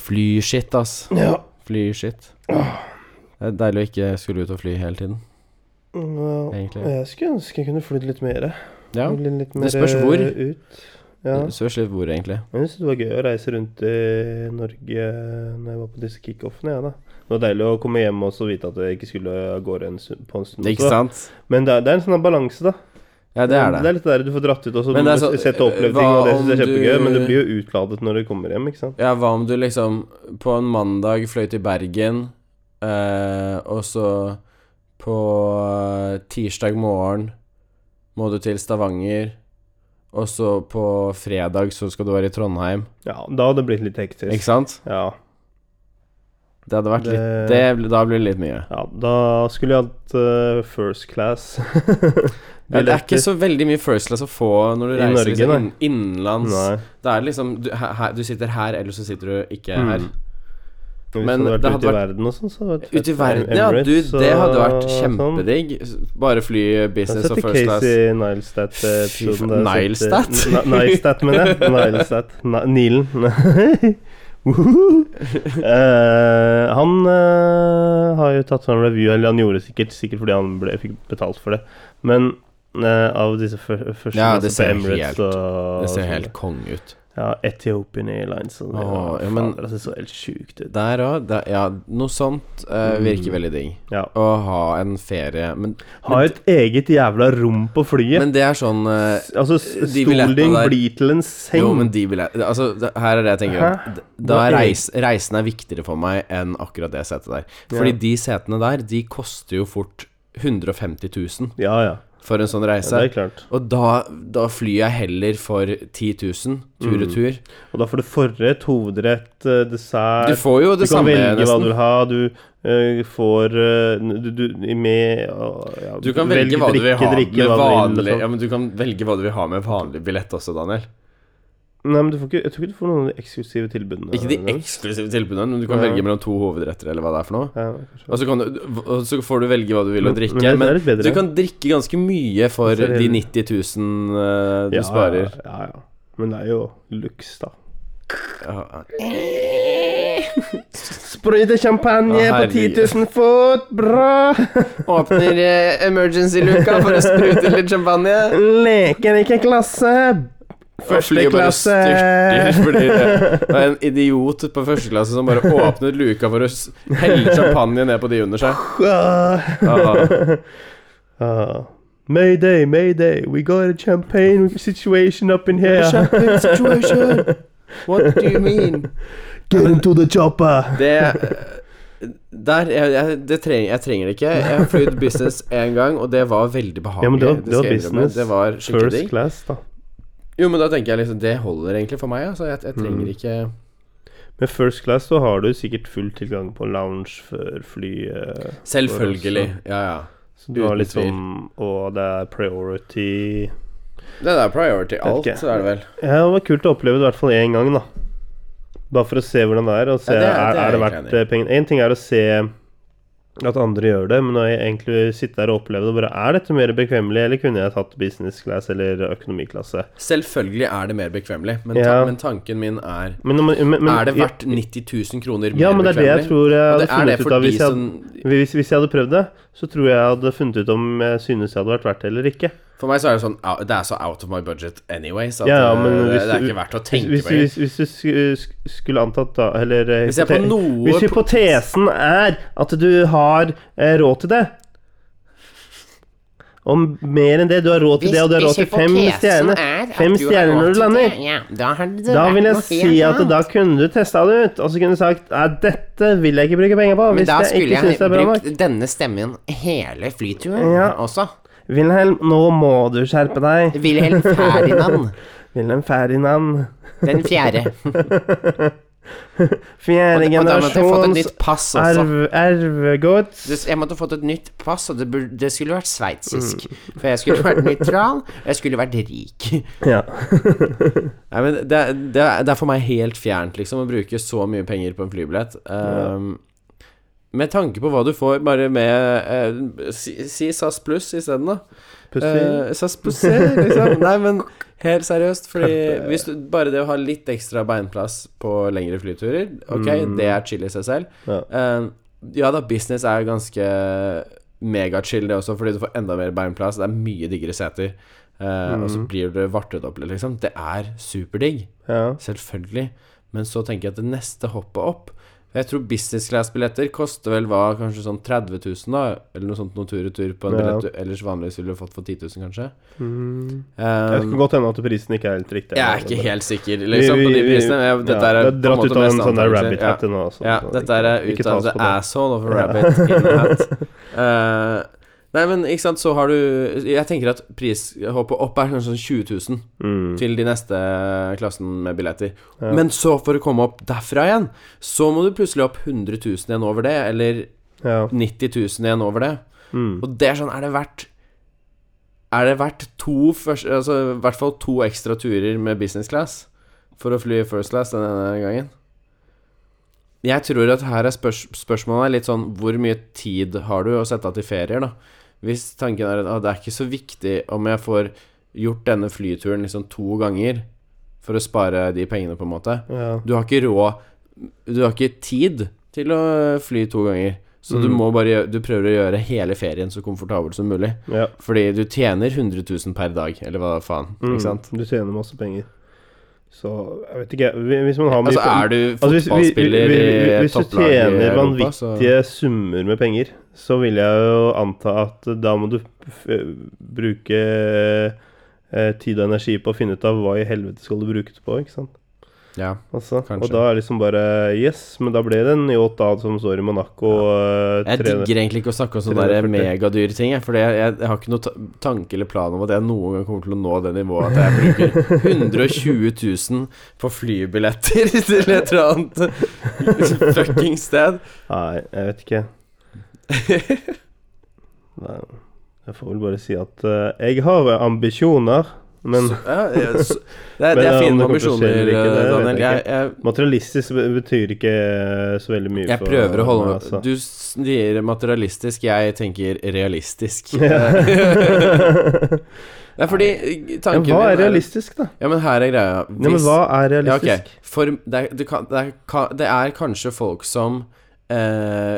[SPEAKER 2] Flyskitt, ass.
[SPEAKER 1] Ja.
[SPEAKER 2] Flyskitt. Det er deilig å ikke skulle ut og fly hele tiden, egentlig.
[SPEAKER 1] Jeg skulle ønske jeg kunne flydd litt mer.
[SPEAKER 2] Ja.
[SPEAKER 1] Flydd Litt mer
[SPEAKER 2] det spørs hvor.
[SPEAKER 1] eh, Ut. Ja.
[SPEAKER 2] Det spørs litt hvor, egentlig.
[SPEAKER 1] Jeg syns det var gøy å reise rundt i Norge når jeg var på disse kickoffene, jeg, da. Det var deilig å komme hjem og så vite at jeg ikke skulle av gårde en stund- på en stund.
[SPEAKER 2] Ikke
[SPEAKER 1] også.
[SPEAKER 2] sant?
[SPEAKER 1] Men det er, det er en sånn balanse, da.
[SPEAKER 2] Ja, det er
[SPEAKER 1] Det
[SPEAKER 2] det.
[SPEAKER 1] er litt der du får dratt ut og så
[SPEAKER 2] Men det er
[SPEAKER 1] må du
[SPEAKER 2] så-
[SPEAKER 1] sett og opplevd
[SPEAKER 2] hva
[SPEAKER 1] ting, og det syns jeg er
[SPEAKER 2] om du-
[SPEAKER 1] kjempegøy, men du blir jo utladet når du kommer hjem, ikke sant.
[SPEAKER 2] Ja, hva om du liksom på en mandag fløy til Bergen, eh, og så på eh, tirsdag morgen må du til Stavanger, og så på fredag så skal du være i Trondheim,
[SPEAKER 1] Ja, da hadde det blitt litt hektisk.
[SPEAKER 2] ikke sant?
[SPEAKER 1] Ja.
[SPEAKER 2] Det hadde vært litt
[SPEAKER 1] Det-
[SPEAKER 2] det, Da blir det litt mye.
[SPEAKER 1] Ja, da skulle jeg hatt eh, first class.
[SPEAKER 2] Ja, det er ikke så veldig mye first class å få når du
[SPEAKER 1] I
[SPEAKER 2] reiser
[SPEAKER 1] Norge,
[SPEAKER 2] liksom,
[SPEAKER 1] nei.
[SPEAKER 2] inn, innenlands.
[SPEAKER 1] Nei.
[SPEAKER 2] Det er liksom du, her, her- du sitter her, eller så sitter du ikke
[SPEAKER 1] Mm.
[SPEAKER 2] her.
[SPEAKER 1] Hvis
[SPEAKER 2] Men
[SPEAKER 1] du hadde
[SPEAKER 2] det
[SPEAKER 1] vært
[SPEAKER 2] hadde
[SPEAKER 1] ute i
[SPEAKER 2] vært-
[SPEAKER 1] verden og sånn, så hadde det vært
[SPEAKER 2] Ute i
[SPEAKER 1] fett.
[SPEAKER 2] verden, ja. Du,
[SPEAKER 1] Emirates
[SPEAKER 2] det hadde vært
[SPEAKER 1] og sånn.
[SPEAKER 2] kjempedigg. Bare fly
[SPEAKER 1] Jeg har
[SPEAKER 2] business
[SPEAKER 1] sett
[SPEAKER 2] og
[SPEAKER 1] i
[SPEAKER 2] first class.
[SPEAKER 1] Casey Nilestat eh,
[SPEAKER 2] Fy
[SPEAKER 1] episoden
[SPEAKER 2] faen,
[SPEAKER 1] der jeg har sett, eh,
[SPEAKER 2] Nilestat?
[SPEAKER 1] Ni- Nilestat, mener jeg. Nilestat. Ni- Nilen. Woohoo! Eh, han eh, har jo tatt sånn review, eller han gjorde det sikkert, sikkert fordi han ble, fikk betalt for det, men eh, av disse fir- første
[SPEAKER 2] Ja,
[SPEAKER 1] altså
[SPEAKER 2] det
[SPEAKER 1] på
[SPEAKER 2] ser
[SPEAKER 1] Emirates
[SPEAKER 2] helt-
[SPEAKER 1] og,
[SPEAKER 2] Det ser
[SPEAKER 1] og sånn.
[SPEAKER 2] helt konge ut.
[SPEAKER 1] Ja, Ethiopian Airlines og det.
[SPEAKER 2] Åh, ja,
[SPEAKER 1] ja,
[SPEAKER 2] men-
[SPEAKER 1] fader, altså, det så helt sjukt ut.
[SPEAKER 2] Der òg. Ja, noe sånt eh, virker
[SPEAKER 1] Mm.
[SPEAKER 2] veldig digg.
[SPEAKER 1] Ja.
[SPEAKER 2] Å ha en ferie Men,
[SPEAKER 1] Ha et eget jævla rom på flyet.
[SPEAKER 2] men det er sånn eh,
[SPEAKER 1] altså, s-
[SPEAKER 2] de
[SPEAKER 1] stol din
[SPEAKER 2] billettene der-
[SPEAKER 1] blir til en seng.
[SPEAKER 2] Jo, men de vil jeg Altså, det- her er det jeg tenker
[SPEAKER 1] Hæ?
[SPEAKER 2] om. Da
[SPEAKER 1] Hva er-
[SPEAKER 2] reis, reisen er viktigere for meg enn akkurat det setet der. Fordi
[SPEAKER 1] Ja.
[SPEAKER 2] de setene der, de koster jo fort 150 000
[SPEAKER 1] Ja, ja.
[SPEAKER 2] for en sånn
[SPEAKER 1] ja. Det
[SPEAKER 2] reise.
[SPEAKER 1] er klart.
[SPEAKER 2] Og da, da flyr jeg heller for 10 000 tur
[SPEAKER 1] Mm.
[SPEAKER 2] og tur.
[SPEAKER 1] Og da får du forrett, hovedrett, eh, dessert
[SPEAKER 2] Du får jo
[SPEAKER 1] Du
[SPEAKER 2] det
[SPEAKER 1] kan
[SPEAKER 2] samme,
[SPEAKER 1] velge hva du
[SPEAKER 2] nesten.
[SPEAKER 1] vil ha. Du eh, får eh, du, du, i med og, ja,
[SPEAKER 2] Du kan velge hva du vil ha
[SPEAKER 1] drikke,
[SPEAKER 2] med
[SPEAKER 1] hva du vil,
[SPEAKER 2] vanlig
[SPEAKER 1] og sånn.
[SPEAKER 2] Ja, men du kan velge hva du vil ha med vanlig billett også, Daniel.
[SPEAKER 1] Nei, men du får ikke, Jeg tror ikke du får noen av de eksklusive tilbudene.
[SPEAKER 2] Ikke de eksklusive tilbudene, men du kan
[SPEAKER 1] Ja.
[SPEAKER 2] velge mellom to hovedretter, eller hva det er for noe.
[SPEAKER 1] Ja, kanskje.
[SPEAKER 2] Og så, kan du, og så får du velge hva du vil å
[SPEAKER 1] Men-
[SPEAKER 2] drikke.
[SPEAKER 1] men det er
[SPEAKER 2] Men,
[SPEAKER 1] litt bedre. Altså,
[SPEAKER 2] du kan drikke ganske mye for
[SPEAKER 1] Det ser
[SPEAKER 2] de
[SPEAKER 1] helt-
[SPEAKER 2] 90 000 eh, du
[SPEAKER 1] Ja,
[SPEAKER 2] sparer.
[SPEAKER 1] Ja, ja, ja. Men det er jo luks, da.
[SPEAKER 2] Ja.
[SPEAKER 1] Sprøyte champagne
[SPEAKER 2] Å,
[SPEAKER 1] på 10 000 fot, bra!
[SPEAKER 2] Åpner eh, emergency-luka for å sprute litt champagne.
[SPEAKER 1] Leker ikke klasse. Første klasse.
[SPEAKER 2] Fordi det var en idiot på første klasse som bare åpnet luka for å s- helle champagne ned på de under seg. Ah.
[SPEAKER 1] Ah. Mayday, mayday, we got a champagne situation up in here.
[SPEAKER 2] Champagne situation. What do you mean?
[SPEAKER 1] Get into the chopper.
[SPEAKER 2] Det der, jeg, jeg, det trenger, jeg trenger det ikke. Jeg har flydd business én gang, og det var veldig behagelig.
[SPEAKER 1] Ja, men det var, det
[SPEAKER 2] skal
[SPEAKER 1] var
[SPEAKER 2] jeg innrømme.
[SPEAKER 1] business.
[SPEAKER 2] Det var skikkelig
[SPEAKER 1] First
[SPEAKER 2] digg.
[SPEAKER 1] class, da.
[SPEAKER 2] Jo, men da tenker jeg liksom Det holder egentlig for meg. Altså, jeg, jeg
[SPEAKER 1] Mm.
[SPEAKER 2] trenger ikke
[SPEAKER 1] Med first class så har du sikkert full tilgang på lounge før flyet.
[SPEAKER 2] Selvfølgelig. Ja, ja.
[SPEAKER 1] eh, Så du har
[SPEAKER 2] Uten
[SPEAKER 1] litt
[SPEAKER 2] tvil.
[SPEAKER 1] sånn Og det er priority
[SPEAKER 2] Det er priority alt,
[SPEAKER 1] ikke.
[SPEAKER 2] så er det vel.
[SPEAKER 1] Ja, det var kult å oppleve det i hvert fall én gang, da. Bare for å se hvordan det er. Og se,
[SPEAKER 2] Ja, det er-
[SPEAKER 1] er,
[SPEAKER 2] det
[SPEAKER 1] er,
[SPEAKER 2] er
[SPEAKER 1] det
[SPEAKER 2] jeg
[SPEAKER 1] verdt
[SPEAKER 2] enig i.
[SPEAKER 1] eh, pengene? Én ting er å se at andre gjør det, men å egentlig sitte der og oppleve det bare Er dette mer bekvemmelig, eller kunne jeg tatt business class eller økonomiklasse?
[SPEAKER 2] Selvfølgelig er det mer bekvemmelig, men, ta
[SPEAKER 1] Ja.
[SPEAKER 2] men tanken min er
[SPEAKER 1] Men, men, men, men
[SPEAKER 2] Er det verdt 90 000 kroner mer
[SPEAKER 1] Ja, men det er det jeg
[SPEAKER 2] bekvemmelig?
[SPEAKER 1] tror jeg hadde
[SPEAKER 2] Og det er
[SPEAKER 1] funnet
[SPEAKER 2] det
[SPEAKER 1] ut
[SPEAKER 2] for
[SPEAKER 1] av
[SPEAKER 2] de
[SPEAKER 1] hvis jeg,
[SPEAKER 2] som
[SPEAKER 1] hvis, hvis jeg hadde prøvd det. Så tror jeg jeg hadde funnet ut om jeg synes jeg hadde vært verdt det eller ikke.
[SPEAKER 2] For meg så er det sånn au- Det er så out of my budget anyway, så at,
[SPEAKER 1] Ja, ja,
[SPEAKER 2] eh,
[SPEAKER 1] men
[SPEAKER 2] det,
[SPEAKER 1] hvis
[SPEAKER 2] det er
[SPEAKER 1] du-
[SPEAKER 2] ikke verdt å
[SPEAKER 1] Hvis,
[SPEAKER 2] tenke
[SPEAKER 1] hvis,
[SPEAKER 2] på.
[SPEAKER 1] hvis, hvis du sk- sk- skulle antatt, da Eller eh,
[SPEAKER 2] Hvis jeg på
[SPEAKER 1] hypote-
[SPEAKER 2] noe
[SPEAKER 1] Hvis hypotesen er at du har eh, råd til det Om mer enn det Du har råd til det, og du har råd til fem stjerner Fem stjerner når du lander.
[SPEAKER 2] da,
[SPEAKER 1] Da vil jeg si at da kunne du testa det ut, og så kunne du sagt Nei, dette vil jeg ikke bruke penger på. Hvis jeg ikke synes det er bra nok.
[SPEAKER 2] denne stemmen hele flyturen
[SPEAKER 1] Ja.
[SPEAKER 2] også.
[SPEAKER 1] Wilhelm, nå må du skjerpe deg.
[SPEAKER 2] Wilhelm Ferdinand,
[SPEAKER 1] Wilhelm Ferdinand.
[SPEAKER 2] den fjerde.
[SPEAKER 1] Fjerde generasjons
[SPEAKER 2] pass
[SPEAKER 1] arv, arvegods.
[SPEAKER 2] Det- Jeg måtte fått et nytt pass, og det, bur- det skulle vært sveitsisk. For jeg skulle vært nøytral, og jeg skulle vært rik.
[SPEAKER 1] Ja.
[SPEAKER 2] Nei, men det, er- det, er- det er for meg helt fjernt, liksom, å bruke så mye penger på en flybillett. Ehm, Med tanke på hva du får bare med eh, Si, si SAS Pluss isteden, da.
[SPEAKER 1] Pussig.
[SPEAKER 2] Eh, SAS Pluss, liksom. Nei, men helt seriøst, fordi hvis du, bare det å ha litt ekstra beinplass på lengre flyturer, ok, det er chill i seg selv.
[SPEAKER 1] Ja.
[SPEAKER 2] Eh, ja da, business er ganske megachill, det også, fordi du får enda mer beinplass. Det er mye diggere seter. Eh, Og så blir du vartet opp litt, liksom. Det er superdigg.
[SPEAKER 1] ja.
[SPEAKER 2] Selvfølgelig. Men så tenker jeg at det neste hoppet opp Jeg tror business class-billetter koster vel hva, kanskje sånn 30 000, da? Eller noe sånt noe tur-retur på en
[SPEAKER 1] Ja.
[SPEAKER 2] billett du ellers vanligvis ville fått for 10 000, kanskje.
[SPEAKER 1] Mm.
[SPEAKER 2] Eh,
[SPEAKER 1] Jeg kan godt hende at prisen ikke er helt riktig. eh,
[SPEAKER 2] jeg er ikke helt sikker, liksom,
[SPEAKER 1] Vi-
[SPEAKER 2] på
[SPEAKER 1] vi-
[SPEAKER 2] de
[SPEAKER 1] vi-
[SPEAKER 2] prisene. men jeg-
[SPEAKER 1] ja,
[SPEAKER 2] Dette
[SPEAKER 1] det er
[SPEAKER 2] er på en
[SPEAKER 1] dratt
[SPEAKER 2] måte
[SPEAKER 1] ut av en sånn
[SPEAKER 2] mest
[SPEAKER 1] der
[SPEAKER 2] antakelser. Ja.
[SPEAKER 1] rabbit-hatt nå. Altså,
[SPEAKER 2] Ja,
[SPEAKER 1] så
[SPEAKER 2] dette er
[SPEAKER 1] ikke-
[SPEAKER 2] ut
[SPEAKER 1] ikke ta
[SPEAKER 2] av
[SPEAKER 1] oss
[SPEAKER 2] the
[SPEAKER 1] på det.
[SPEAKER 2] asshole of a rabbit in a hat. Eh, nei, men ikke sant, så har du Jeg tenker at prishoppet opp er kanskje sånn 20 000
[SPEAKER 1] Mm.
[SPEAKER 2] til de neste klassen med billetter. Men så, for å komme opp derfra igjen, så må du plutselig opp 100 000 igjen over det, eller
[SPEAKER 1] Ja.
[SPEAKER 2] 90 000 igjen over det.
[SPEAKER 1] Mm.
[SPEAKER 2] Og det er sånn, er det verdt Er det verdt to først, Altså i hvert fall to ekstra turer med business class For å fly first class denne gangen Jeg tror at her er spørs, spørsmålet er litt sånn Hvor mye tid har du å sette av til ferier da? Hvis tanken er at ah, det er ikke så viktig Om jeg får gjort denne flyturen liksom to ganger For å spare de pengene på en måte
[SPEAKER 1] Ja.
[SPEAKER 2] du har ikke råd Du har ikke tid til å fly to ganger. Så du
[SPEAKER 1] Mm.
[SPEAKER 2] må bare gjø- Du prøver å gjøre hele ferien så komfortabel som mulig.
[SPEAKER 1] ja.
[SPEAKER 2] Fordi du tjener 100 000 per dag, eller hva faen.
[SPEAKER 1] Mm.
[SPEAKER 2] Ikke sant?
[SPEAKER 1] Du tjener masse penger. Så jeg vet ikke Hvis hvis man har mye
[SPEAKER 2] Altså er du
[SPEAKER 1] Altså, hvis- vi- vi- vi-
[SPEAKER 2] fotballspiller
[SPEAKER 1] vi-
[SPEAKER 2] i
[SPEAKER 1] hvis du
[SPEAKER 2] topplag i
[SPEAKER 1] tjener
[SPEAKER 2] Europa, så
[SPEAKER 1] vanvittige summer med penger, så vil jeg jo anta at da må du f bruke eh, tid og energi på å finne ut av hva i helvete skal du bruke det på, ikke sant.
[SPEAKER 2] Ja.
[SPEAKER 1] Altså, og
[SPEAKER 2] Kanskje.
[SPEAKER 1] da er liksom bare Yes, men da ble det en yacht da som står i Monaco eh, og
[SPEAKER 2] Jeg digger egentlig ikke å snakke om sånne der
[SPEAKER 1] 340.
[SPEAKER 2] megadyre ting, jeg, fordi jeg, jeg, jeg har ikke noen ta- tanke eller plan om at jeg noen gang kommer til å nå det nivået at jeg bruker 120 000 på flybilletter til et eller annet fucking sted.
[SPEAKER 1] Nei, jeg vet ikke. Nei, jeg får vel bare si at eh, jeg har ambisjoner, men
[SPEAKER 2] Så- ja, ja, så, det, er,
[SPEAKER 1] Men eh,
[SPEAKER 2] det er
[SPEAKER 1] om
[SPEAKER 2] fine
[SPEAKER 1] det kommer til å skje
[SPEAKER 2] ambisjoner, eh,
[SPEAKER 1] eller ikke, det vet jeg
[SPEAKER 2] Daniel. Jeg,
[SPEAKER 1] ikke.
[SPEAKER 2] jeg,
[SPEAKER 1] materialistisk be- betyr ikke eh, så veldig mye
[SPEAKER 2] jeg
[SPEAKER 1] for
[SPEAKER 2] prøver å holde
[SPEAKER 1] meg, altså.
[SPEAKER 2] meg Du sier materialistisk, jeg tenker realistisk.
[SPEAKER 1] Ja.
[SPEAKER 2] Nei, fordi eh,
[SPEAKER 1] Ja,
[SPEAKER 2] tanken
[SPEAKER 1] hva
[SPEAKER 2] min
[SPEAKER 1] er realistisk, da?
[SPEAKER 2] Ja, men her er greia.
[SPEAKER 1] Nei, men
[SPEAKER 2] Hvis-
[SPEAKER 1] hva er
[SPEAKER 2] Ja, ok.
[SPEAKER 1] realistisk?
[SPEAKER 2] For det er, du kan, det, er, ka- det er kanskje folk som eh,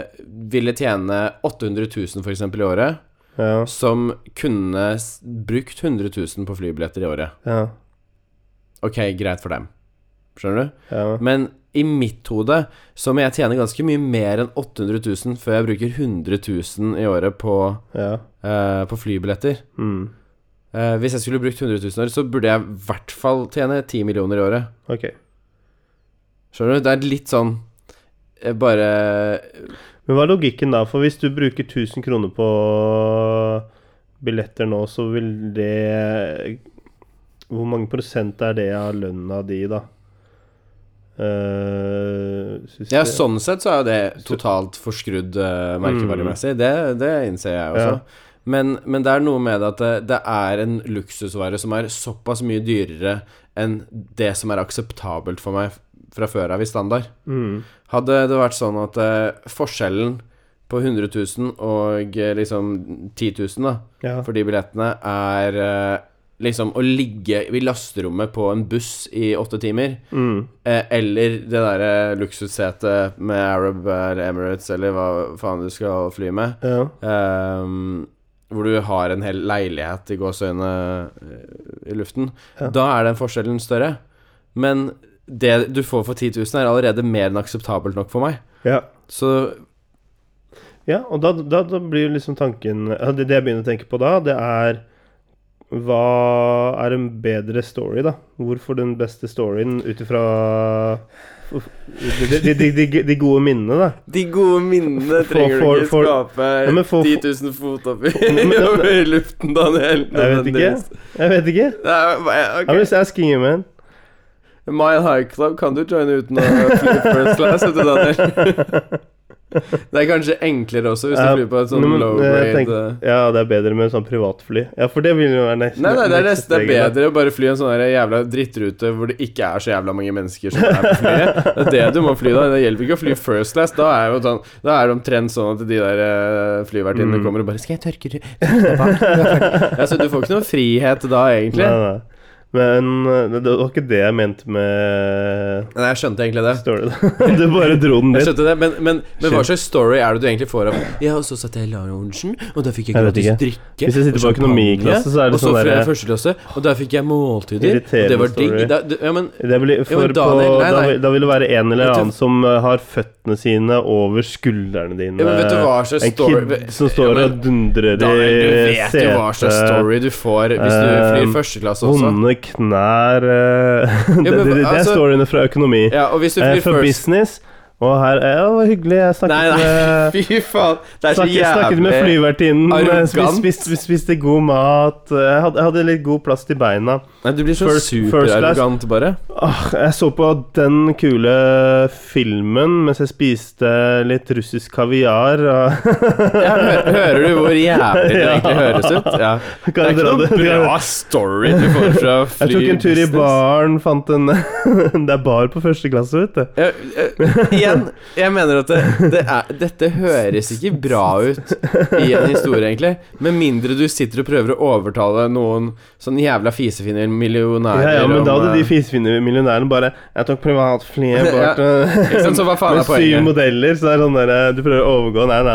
[SPEAKER 2] ville tjene 800 000 for eksempel i året,
[SPEAKER 1] Ja,
[SPEAKER 2] som kunne s- brukt 100 000 på flybilletter i året.
[SPEAKER 1] ja,
[SPEAKER 2] Ok, greit for dem. Skjønner du?
[SPEAKER 1] ja.
[SPEAKER 2] Men i mitt hode så må jeg tjene ganske mye mer enn 800 000 før jeg bruker 100 000 i året på,
[SPEAKER 1] ja.
[SPEAKER 2] eh, på flybilletter.
[SPEAKER 1] Mm.
[SPEAKER 2] Eh, hvis jeg skulle brukt 100 000 i året, så burde jeg i hvert fall tjene 10 millioner i året.
[SPEAKER 1] Ok.
[SPEAKER 2] Skjønner du? Det er litt sånn eh, bare
[SPEAKER 1] Men hva er logikken da? For hvis du bruker 1000 kroner på billetter nå, så vil det Hvor mange prosent er det av lønna di, da? Eh, synes
[SPEAKER 2] Ja,
[SPEAKER 1] jeg-
[SPEAKER 2] sånn sett så er jo det totalt forskrudd eh, merkevaremessig. Det, det innser jeg også. Men, men det er noe med det at det, det er en luksusvare som er såpass mye dyrere enn det som er akseptabelt for meg fra før av i standard.
[SPEAKER 1] Mm.
[SPEAKER 2] Hadde det vært sånn at eh, forskjellen på 100 000 og eh, liksom 10 000 da,
[SPEAKER 1] Ja.
[SPEAKER 2] for de billettene er eh, liksom å ligge i lasterommet på en buss i åtte timer,
[SPEAKER 1] Mm.
[SPEAKER 2] eh, eller det derre luksussetet med Arab eller Emirates eller hva faen du skal fly med,
[SPEAKER 1] ja.
[SPEAKER 2] Ehm, hvor du har en hel leilighet i gåseøyne eh, i luften,
[SPEAKER 1] Ja.
[SPEAKER 2] da er den forskjellen større. Men det du får for 10 000, er allerede mer enn akseptabelt nok for meg.
[SPEAKER 1] ja.
[SPEAKER 2] Så
[SPEAKER 1] Ja, og da, da, da blir liksom tanken ja, det, det jeg begynner å tenke på da, det er Hva er en bedre story, da? Hvorfor den beste storyen ut ifra de, de, de, de, de gode minnene, da?
[SPEAKER 2] de gode minnene
[SPEAKER 1] For- trenger du for- ikke for-
[SPEAKER 2] skape
[SPEAKER 1] Ja, men for- 10
[SPEAKER 2] 000 fot opp i,
[SPEAKER 1] Men- men-
[SPEAKER 2] luften, Daniel.
[SPEAKER 1] Jeg vet ikke. Jeg vet ikke. I'm just asking you, man.
[SPEAKER 2] Mile High Club kan du joine uten å fly first class, vet du, Daniel. Det er kanskje enklere også, hvis
[SPEAKER 1] Ja,
[SPEAKER 2] du flyr på et sånn
[SPEAKER 1] men,
[SPEAKER 2] low
[SPEAKER 1] eh,
[SPEAKER 2] grade
[SPEAKER 1] tenk-
[SPEAKER 2] eh.
[SPEAKER 1] Ja, det er bedre med sånn privatfly. Ja, for det vil jo være next.
[SPEAKER 2] Nei, nei, det er nesten det er
[SPEAKER 1] steget, da.
[SPEAKER 2] bedre å bare fly en sånn der jævla drittrute hvor det ikke er så jævla mange mennesker som er på flyet. Det er det du må fly da. Det hjelper ikke å fly first class. Da er, jo sånn, da er det omtrent sånn at de der eh, flyvertinnene
[SPEAKER 1] Mm.
[SPEAKER 2] kommer og bare 'Skal jeg tørke ru- ruta bak?» ja, Så du får ikke noe frihet da, egentlig.
[SPEAKER 1] Nei, nei. Men eh, det, det var ikke det jeg mente med
[SPEAKER 2] Nei, jeg skjønte egentlig det.
[SPEAKER 1] story, da. Du bare dro den
[SPEAKER 2] Jeg
[SPEAKER 1] dit.
[SPEAKER 2] skjønte det, men, men, men hva slags story er det du egentlig får av Ja, og så satt jeg i loungen, og da fikk jeg
[SPEAKER 1] Jeg vet
[SPEAKER 2] gratis
[SPEAKER 1] ikke.
[SPEAKER 2] drikke.
[SPEAKER 1] Hvis jeg sitter
[SPEAKER 2] og
[SPEAKER 1] på økonomiklasse,
[SPEAKER 2] champagne,
[SPEAKER 1] så er det
[SPEAKER 2] og så
[SPEAKER 1] sånn
[SPEAKER 2] fløy jeg i
[SPEAKER 1] derre-
[SPEAKER 2] første klasse, og da fikk jeg måltider. Og det
[SPEAKER 1] Irriterende
[SPEAKER 2] var digg.
[SPEAKER 1] story.
[SPEAKER 2] Da, det- ja, men
[SPEAKER 1] Det blir, for
[SPEAKER 2] men Daniel,
[SPEAKER 1] på,
[SPEAKER 2] nei,
[SPEAKER 1] Da,
[SPEAKER 2] nei.
[SPEAKER 1] vil- da vil det være en eller
[SPEAKER 2] Vet du-
[SPEAKER 1] annen som eh, har føttene sine over skuldrene dine.
[SPEAKER 2] Ja, men vet du hva slags
[SPEAKER 1] en
[SPEAKER 2] story
[SPEAKER 1] kid som står
[SPEAKER 2] Ja, men
[SPEAKER 1] og dundrer
[SPEAKER 2] Daniel, du
[SPEAKER 1] i
[SPEAKER 2] vet jo hva slags
[SPEAKER 1] setet.
[SPEAKER 2] story du får hvis du
[SPEAKER 1] eh,
[SPEAKER 2] flyr første klasse også.
[SPEAKER 1] Vonde knær eh, det,
[SPEAKER 2] men
[SPEAKER 1] det, det er
[SPEAKER 2] altså-
[SPEAKER 1] storyene fra økonomi.
[SPEAKER 2] Ja, og hvis du
[SPEAKER 1] Eh,
[SPEAKER 2] flyr
[SPEAKER 1] for
[SPEAKER 2] first
[SPEAKER 1] business Og her er det var hyggelig. Jeg snakket
[SPEAKER 2] Nei, nei,
[SPEAKER 1] med
[SPEAKER 2] fy faen. Det er så
[SPEAKER 1] Snakket, snakket med
[SPEAKER 2] jævlig
[SPEAKER 1] flyvertinnen, eh,
[SPEAKER 2] arrogant.
[SPEAKER 1] spiste, spiste, spiste god mat eh, Jeg hadde, jeg hadde litt god plass til beina.
[SPEAKER 2] Nei, Du blir så
[SPEAKER 1] First-
[SPEAKER 2] superarrogant, bare.
[SPEAKER 1] Åh, jeg så på den kule filmen mens jeg spiste litt russisk kaviar. Og
[SPEAKER 2] Ja, hø- hører du hvor jævlig det
[SPEAKER 1] Ja.
[SPEAKER 2] egentlig høres ut? Ja. Det
[SPEAKER 1] Kan
[SPEAKER 2] er
[SPEAKER 1] jeg
[SPEAKER 2] ikke
[SPEAKER 1] dra
[SPEAKER 2] noen
[SPEAKER 1] det?
[SPEAKER 2] bra story du får fra fly
[SPEAKER 1] Jeg tok en tur i
[SPEAKER 2] business.
[SPEAKER 1] baren, fant en Det er bar på første klasse, vet du.
[SPEAKER 2] Ja, eh, igjen, jeg mener at det, det er, dette høres ikke bra ut i en historie, egentlig. Med mindre du sitter og prøver å overtale noen sånn jævla fisefinner millionærer
[SPEAKER 1] Ja, ja, men
[SPEAKER 2] om,
[SPEAKER 1] da hadde de
[SPEAKER 2] eh,
[SPEAKER 1] fisefinnene millionærene bare Jeg tok privatflyet
[SPEAKER 2] Ja,
[SPEAKER 1] bort eh,
[SPEAKER 2] ikke sant, så hva faen er
[SPEAKER 1] med syv
[SPEAKER 2] poenget?
[SPEAKER 1] modeller, så det er sånn der eh, Du prøver å overgå Nei, nei.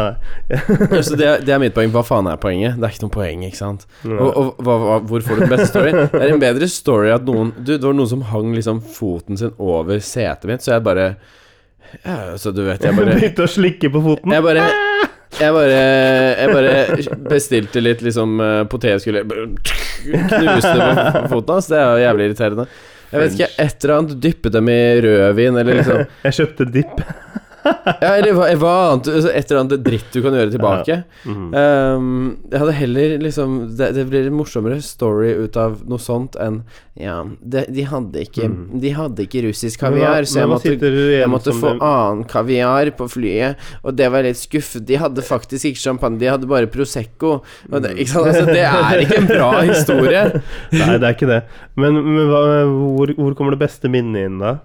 [SPEAKER 2] Ja, så Altså, det, det er mitt poeng. Hva faen er poenget? Det er ikke noe poeng, ikke sant?
[SPEAKER 1] nei.
[SPEAKER 2] Og, og hva, hva, hvor får du den beste storyen? Det er en bedre story at noen Du, det var noen som hang liksom foten sin over setet mitt, så jeg bare ja, Så du vet, jeg bare
[SPEAKER 1] Begynte å slikke på foten.
[SPEAKER 2] Jeg bare jeg bare, jeg bare bestilte litt liksom eh, potetgull bare Knuste på foten hans. Det er jo jævlig irriterende. Jeg vet ikke, et eller annet. Dyppet dem i rødvin, eller liksom
[SPEAKER 1] Jeg kjøpte dipp.
[SPEAKER 2] ja, Eller hva, hva annet? altså, Et eller annet dritt du kan gjøre tilbake.
[SPEAKER 1] Mhm.
[SPEAKER 2] Ehm, jeg hadde heller liksom det, det blir en morsommere story ut av noe sånt enn Ja, det, de hadde ikke De hadde ikke russisk kaviar,
[SPEAKER 1] Mm. Men hva-
[SPEAKER 2] så jeg
[SPEAKER 1] men hva
[SPEAKER 2] måtte,
[SPEAKER 1] sitter du igjen
[SPEAKER 2] jeg måtte
[SPEAKER 1] som
[SPEAKER 2] få
[SPEAKER 1] det-
[SPEAKER 2] annen kaviar på flyet, og det var litt skuff. De hadde faktisk ikke champagne, de hadde bare Prosecco. Og det, ikke sant? Altså, det er ikke en bra historie.
[SPEAKER 1] Nei, det er ikke det. Men, men hva, hvor, hvor kommer det beste minnet inn, da?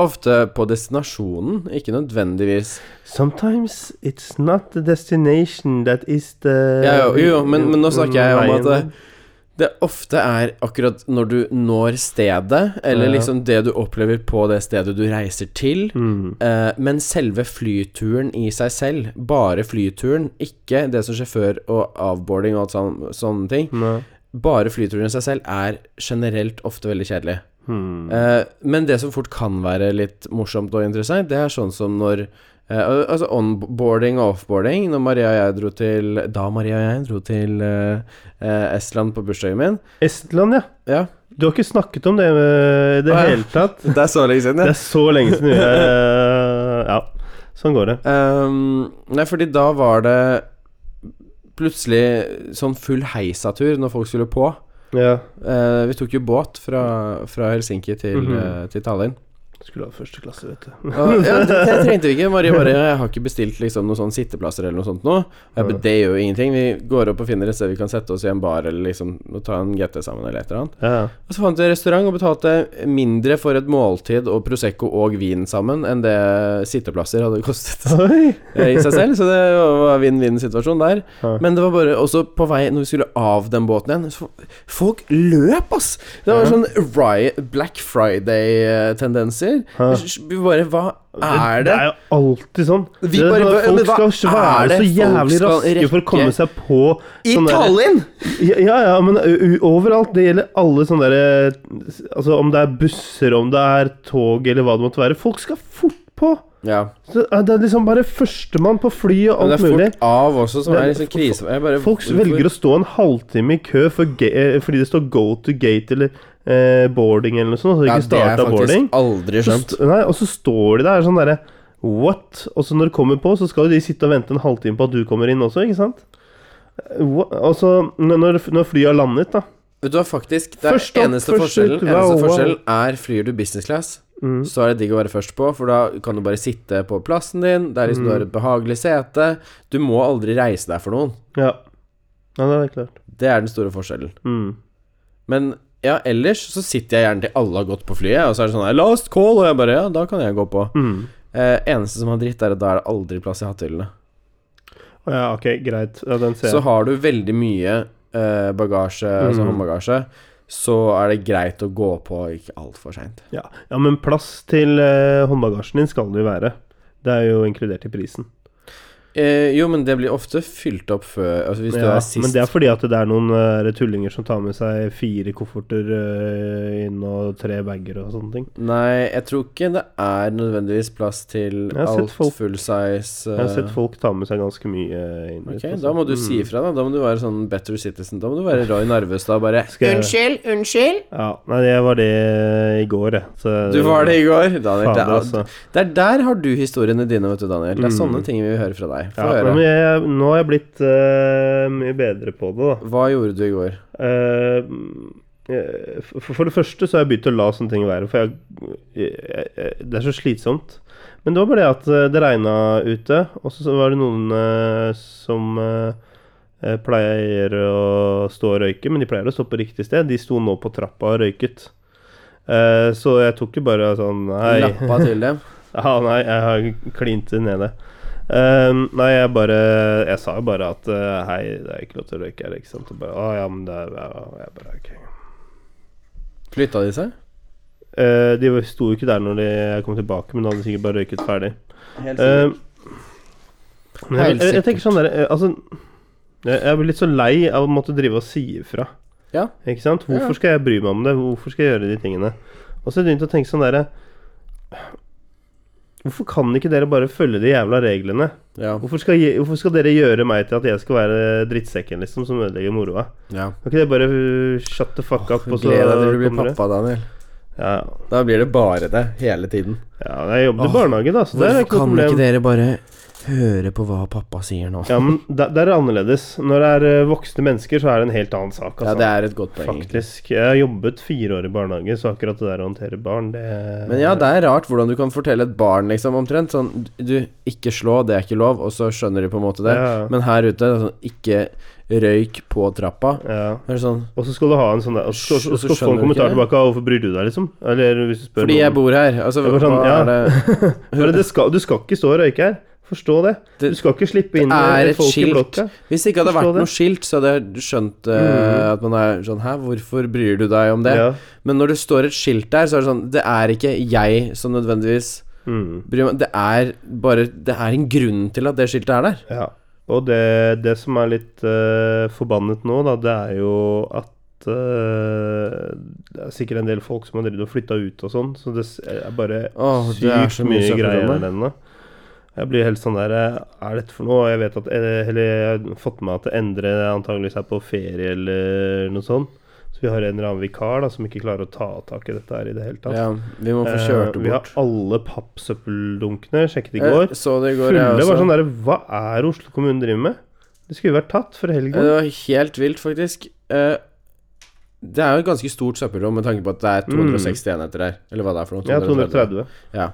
[SPEAKER 2] Ofte på destinasjonen, ikke nødvendigvis.
[SPEAKER 1] Sometimes it's not the destination that is the
[SPEAKER 2] Ja, jo, jo, men, men nå snakker jeg om
[SPEAKER 1] veien.
[SPEAKER 2] at det, det ofte er akkurat når du når stedet,
[SPEAKER 1] Ja.
[SPEAKER 2] eller liksom det du opplever på det stedet du reiser til.
[SPEAKER 1] mm.
[SPEAKER 2] Eh, men selve flyturen i seg selv, bare flyturen, ikke det som skjer før og avboarding og alt sånn, sånne ting,
[SPEAKER 1] Nei.
[SPEAKER 2] bare flyturen i seg selv er generelt ofte veldig kjedelig.
[SPEAKER 1] Hmm.
[SPEAKER 2] Eh, men det som fort kan være litt morsomt og interessant, det er sånn som når eh, al- Altså onboarding og offboarding. Når Maria og jeg dro til Da Maria og jeg dro til eh, eh, Estland på bursdagen min.
[SPEAKER 1] Estland, ja.
[SPEAKER 2] Ja,
[SPEAKER 1] Du har ikke snakket om det eh, i det
[SPEAKER 2] Å, ja.
[SPEAKER 1] hele tatt.
[SPEAKER 2] det er så lenge siden,
[SPEAKER 1] Det
[SPEAKER 2] ja.
[SPEAKER 1] er så lenge siden vi eh, Ja, sånn går det.
[SPEAKER 2] Ehm, nei, fordi da var det plutselig sånn full heisatur når folk skulle på.
[SPEAKER 1] Ja.
[SPEAKER 2] Eh, vi tok jo båt fra, fra Helsinki til,
[SPEAKER 1] Mhm.
[SPEAKER 2] eh, til Tallinn.
[SPEAKER 1] Skulle ha første klasse, vet du.
[SPEAKER 2] Og, ja, det, det trengte vi ikke. Marie bare Jeg har ikke bestilt liksom, noen sånne sitteplasser eller noe sånt nå. Jeg bare, det gjør jo ingenting. Vi går opp og finner et sted vi kan sette oss i en bar eller liksom og ta en GT sammen eller et eller annet.
[SPEAKER 1] Ja, ja.
[SPEAKER 2] Og så fant vi en restaurant og betalte mindre for et måltid og Prosecco og vin sammen enn det sitteplasser hadde kostet
[SPEAKER 1] Oi!
[SPEAKER 2] eh, i seg selv, så det var vinn-vinn-situasjon der.
[SPEAKER 1] Ja.
[SPEAKER 2] Men det var bare også på vei når vi skulle av den båten igjen så Folk løp, ass! Det var
[SPEAKER 1] Ja.
[SPEAKER 2] sånn riot, Black Friday-tendenser.
[SPEAKER 1] Ja.
[SPEAKER 2] Vi bare Hva er det?
[SPEAKER 1] Det er jo alltid sånn.
[SPEAKER 2] Vi
[SPEAKER 1] det,
[SPEAKER 2] bare-
[SPEAKER 1] folk
[SPEAKER 2] men hva
[SPEAKER 1] skal
[SPEAKER 2] er
[SPEAKER 1] være
[SPEAKER 2] det
[SPEAKER 1] så jævlig
[SPEAKER 2] folk skal
[SPEAKER 1] raske for å komme
[SPEAKER 2] rekke?
[SPEAKER 1] seg på sånne
[SPEAKER 2] I
[SPEAKER 1] sånn der-
[SPEAKER 2] Tallinn!
[SPEAKER 1] Ja, ja, ja, men u- u- overalt. Det gjelder alle sånne derre Altså om det er busser, om det er tog, eller hva det måtte være. Folk skal fort på!
[SPEAKER 2] Ja.
[SPEAKER 1] Så eh, det er liksom bare førstemann på fly og
[SPEAKER 2] Men
[SPEAKER 1] alt
[SPEAKER 2] det er
[SPEAKER 1] mulig.
[SPEAKER 2] fort av også, som
[SPEAKER 1] Det er-
[SPEAKER 2] er liksom krise. Jeg bare,
[SPEAKER 1] Folk velger å stå en halvtime i kø for ga eh, fordi det står 'go to gate' eller eh, 'boarding' eller noe sånt. Altså
[SPEAKER 2] ja,
[SPEAKER 1] ikke starta boarding.
[SPEAKER 2] Det har jeg faktisk aldri
[SPEAKER 1] Så
[SPEAKER 2] skjønt.
[SPEAKER 1] st nei, og så står de der sånn derre What? Og så når du kommer på, så skal jo de sitte og vente en halvtime på at du kommer inn også, ikke sant? Wha- Og så når, når- når flyet har landet, da
[SPEAKER 2] Vet du hva, faktisk Det er
[SPEAKER 1] Først opp,
[SPEAKER 2] eneste
[SPEAKER 1] først
[SPEAKER 2] forskjellen
[SPEAKER 1] ut, Mm. wow,
[SPEAKER 2] Eneste
[SPEAKER 1] wow.
[SPEAKER 2] forskjellen er Flyr du business class Så er det digg å være først på For da kan du bare sitte på plassen din Det er liksom du
[SPEAKER 1] Mm.
[SPEAKER 2] har et behagelig sete Du må aldri reise deg for noen
[SPEAKER 1] Ja. Ja, det er klart.
[SPEAKER 2] Det er den store forskjellen
[SPEAKER 1] Mm.
[SPEAKER 2] Men ja, ellers så sitter jeg gjerne til alle har gått på flyet Og så er det sånn her, Last call Og jeg bare, ja, da kan jeg gå på
[SPEAKER 1] Mm.
[SPEAKER 2] eh, Eneste som har dritt er at da er det aldri plass i hatthyllene
[SPEAKER 1] Å Ja, ok, greit. Ja, den ser
[SPEAKER 2] Så
[SPEAKER 1] jeg.
[SPEAKER 2] har du veldig mye eh, bagasje Altså
[SPEAKER 1] Mm.
[SPEAKER 2] håndbagasje Så er det greit å gå på Ikke alt for sent
[SPEAKER 1] Ja. ja, men plass til eh, håndbagasjen din skal det jo være. Det er jo inkludert i prisen.
[SPEAKER 2] Eh, jo, men det blir ofte fylt opp før Altså hvis du
[SPEAKER 1] Ja,
[SPEAKER 2] er sist
[SPEAKER 1] Men det er fordi at det er noen eh, tullinger som tar med seg fire kofferter eh, inn og tre bager og sånne ting.
[SPEAKER 2] Nei, jeg tror ikke det er nødvendigvis plass til
[SPEAKER 1] Jeg har sett
[SPEAKER 2] alt
[SPEAKER 1] folk-
[SPEAKER 2] full size
[SPEAKER 1] Jeg har sett
[SPEAKER 2] eh,
[SPEAKER 1] folk ta med seg ganske mye eh, inn.
[SPEAKER 2] Ok,
[SPEAKER 1] dit, altså.
[SPEAKER 2] da må du si
[SPEAKER 1] Mm.
[SPEAKER 2] ifra, da. Da må du være sånn better citizen. Da må du være Roy Narvestad, bare
[SPEAKER 1] Skal jeg-
[SPEAKER 2] Unnskyld, unnskyld.
[SPEAKER 1] Ja, nei, jeg var det i går, jeg. Så-
[SPEAKER 2] Du var det i går,
[SPEAKER 1] Fader,
[SPEAKER 2] Daniel. Det er,
[SPEAKER 1] altså.
[SPEAKER 2] det er der har du historiene dine, vet du, Daniel. Det er sånne ting vi vil høre fra deg. Få
[SPEAKER 1] Mm. Ja,
[SPEAKER 2] høre.
[SPEAKER 1] men jeg, nå har jeg blitt eh, mye bedre på det, da.
[SPEAKER 2] Hva gjorde du i går?
[SPEAKER 1] Eh, eh, for, for det første så har jeg begynt å la sånne ting være, for jeg, jeg, jeg, det er så slitsomt. Men det var bare det at eh, det regna ute, og så så var det noen eh, som eh, eh, pleier å stå og røyke, men de pleier å stå på riktig sted. De sto nå på trappa og røyket. Eh, så jeg tok jo bare sånn Nei.
[SPEAKER 2] Lappa til dem?
[SPEAKER 1] Ja, nei, jeg har klint det nede. Ehm, nei, jeg bare Jeg sa jo bare at eh, hei, det er ikke lov til å røyke her, ikke sant. Og bare, å, ja, men det er ja, ja», jeg bare, ok.
[SPEAKER 2] Flytta de seg?
[SPEAKER 1] Eh, de sto jo ikke der når de jeg kom tilbake, men de hadde sikkert bare røyket ferdig.
[SPEAKER 2] Helt
[SPEAKER 1] Ehm, men jeg,
[SPEAKER 2] Helt
[SPEAKER 1] jeg, jeg
[SPEAKER 2] sikkert.
[SPEAKER 1] tenker sånn der eh, Altså, jeg, jeg blir litt så lei av å måtte drive og si ifra.
[SPEAKER 2] Ja.
[SPEAKER 1] Ikke sant?
[SPEAKER 2] Ja.
[SPEAKER 1] Hvorfor skal jeg bry meg om det? Hvorfor skal jeg gjøre de tingene? Og så begynte jeg å tenke sånn derre Hvorfor kan ikke dere bare følge de jævla reglene?
[SPEAKER 2] ja.
[SPEAKER 1] Hvorfor skal, je- hvorfor skal dere gjøre meg til at jeg skal være drittsekken liksom som ødelegger moroa?
[SPEAKER 2] ja.
[SPEAKER 1] Kan ikke dere bare uh, shut the fuck up, og så
[SPEAKER 2] Gled deg til du blir
[SPEAKER 1] kommer
[SPEAKER 2] pappa, Daniel.
[SPEAKER 1] Ja,
[SPEAKER 2] Da blir det bare det, hele tiden.
[SPEAKER 1] ja, jeg jobbet
[SPEAKER 2] Åh,
[SPEAKER 1] i barnehage, da, så der er
[SPEAKER 2] Hvorfor
[SPEAKER 1] ikke noe
[SPEAKER 2] kan
[SPEAKER 1] problem.
[SPEAKER 2] ikke dere bare høre på hva pappa sier nå?
[SPEAKER 1] Ja, men der, der er det annerledes. Når det er uh, voksne mennesker, så er det en helt annen sak.
[SPEAKER 2] Ja,
[SPEAKER 1] Altså.
[SPEAKER 2] det er et godt poeng. egentlig.
[SPEAKER 1] Faktisk. Jeg har jobbet fire år i barnehage, så akkurat det der å håndtere barn, det
[SPEAKER 2] Men ja, det er rart hvordan du kan fortelle et barn liksom omtrent sånn Du, ikke slå, det er ikke lov, og så skjønner de på en måte det.
[SPEAKER 1] Ja.
[SPEAKER 2] Men her ute, det er sånn, ikke røyk på trappa.
[SPEAKER 1] ja.
[SPEAKER 2] Det er sånn
[SPEAKER 1] Og så skal du ha en sånn der Og så
[SPEAKER 2] Hysj,
[SPEAKER 1] skal,
[SPEAKER 2] og så
[SPEAKER 1] skal du få
[SPEAKER 2] skjønner
[SPEAKER 1] en
[SPEAKER 2] du
[SPEAKER 1] kommentar
[SPEAKER 2] ikke det.
[SPEAKER 1] tilbake av 'Hvorfor bryr du deg?' liksom. Eller hvis du spør
[SPEAKER 2] Fordi jeg
[SPEAKER 1] noen.
[SPEAKER 2] bor her. Altså,
[SPEAKER 1] Det var sånn,
[SPEAKER 2] hva
[SPEAKER 1] ja.
[SPEAKER 2] er det
[SPEAKER 1] Bare, det skal, du skal ikke stå og røyke her. Forstå det.
[SPEAKER 2] Det-
[SPEAKER 1] Du skal ikke slippe inn eh,
[SPEAKER 2] er et
[SPEAKER 1] folk i
[SPEAKER 2] skilt.
[SPEAKER 1] blokka.
[SPEAKER 2] Hvis det ikke hadde
[SPEAKER 1] Forstå
[SPEAKER 2] vært
[SPEAKER 1] det. Mm.
[SPEAKER 2] noe skilt, så hadde jeg skjønt eh, at man er sånn Hæ, hvorfor bryr du deg om det?
[SPEAKER 1] Ja.
[SPEAKER 2] Men når det står et skilt der, så er det sånn Det er ikke jeg som nødvendigvis
[SPEAKER 1] Mm.
[SPEAKER 2] bryr meg Det er bare Det er en grunn til at det skiltet er der.
[SPEAKER 1] ja. Og det, det som er litt eh, forbannet nå, da, det er jo at eh, Det er sikkert en del folk som har drevet og flytta ut og sånn, så det s- er bare
[SPEAKER 2] Åh, det er
[SPEAKER 1] sykt
[SPEAKER 2] så mye
[SPEAKER 1] mye
[SPEAKER 2] søppel
[SPEAKER 1] greier
[SPEAKER 2] om
[SPEAKER 1] der ennå. Jeg blir helt sånn der eh, Er dette for noe? Og Jeg vet at eh, Eller jeg har fått med meg at Endre antageligvis er på ferie eller noe sånt. Så vi har en eller annen vikar da som ikke klarer å ta tak i dette her i det hele tatt.
[SPEAKER 2] Ja, vi må få kjørt
[SPEAKER 1] Eh,
[SPEAKER 2] det
[SPEAKER 1] vi
[SPEAKER 2] bort. Eh,
[SPEAKER 1] har alle pappsøppeldunkene, sjekket i går.
[SPEAKER 2] Jeg så det i går, altså. jeg
[SPEAKER 1] Fulle
[SPEAKER 2] også.
[SPEAKER 1] var sånn der Hva er Oslo
[SPEAKER 2] Eh,
[SPEAKER 1] kommune driver med? Det skulle jo vært tatt for
[SPEAKER 2] Ja, Det
[SPEAKER 1] helgen.
[SPEAKER 2] var helt vilt, faktisk. Eh, Det er jo et ganske stort søppelrom med tanke på at det er 260 enheter sånn der. Eller hva det er for noe.
[SPEAKER 1] Mm. Ja, 230.
[SPEAKER 2] Ja.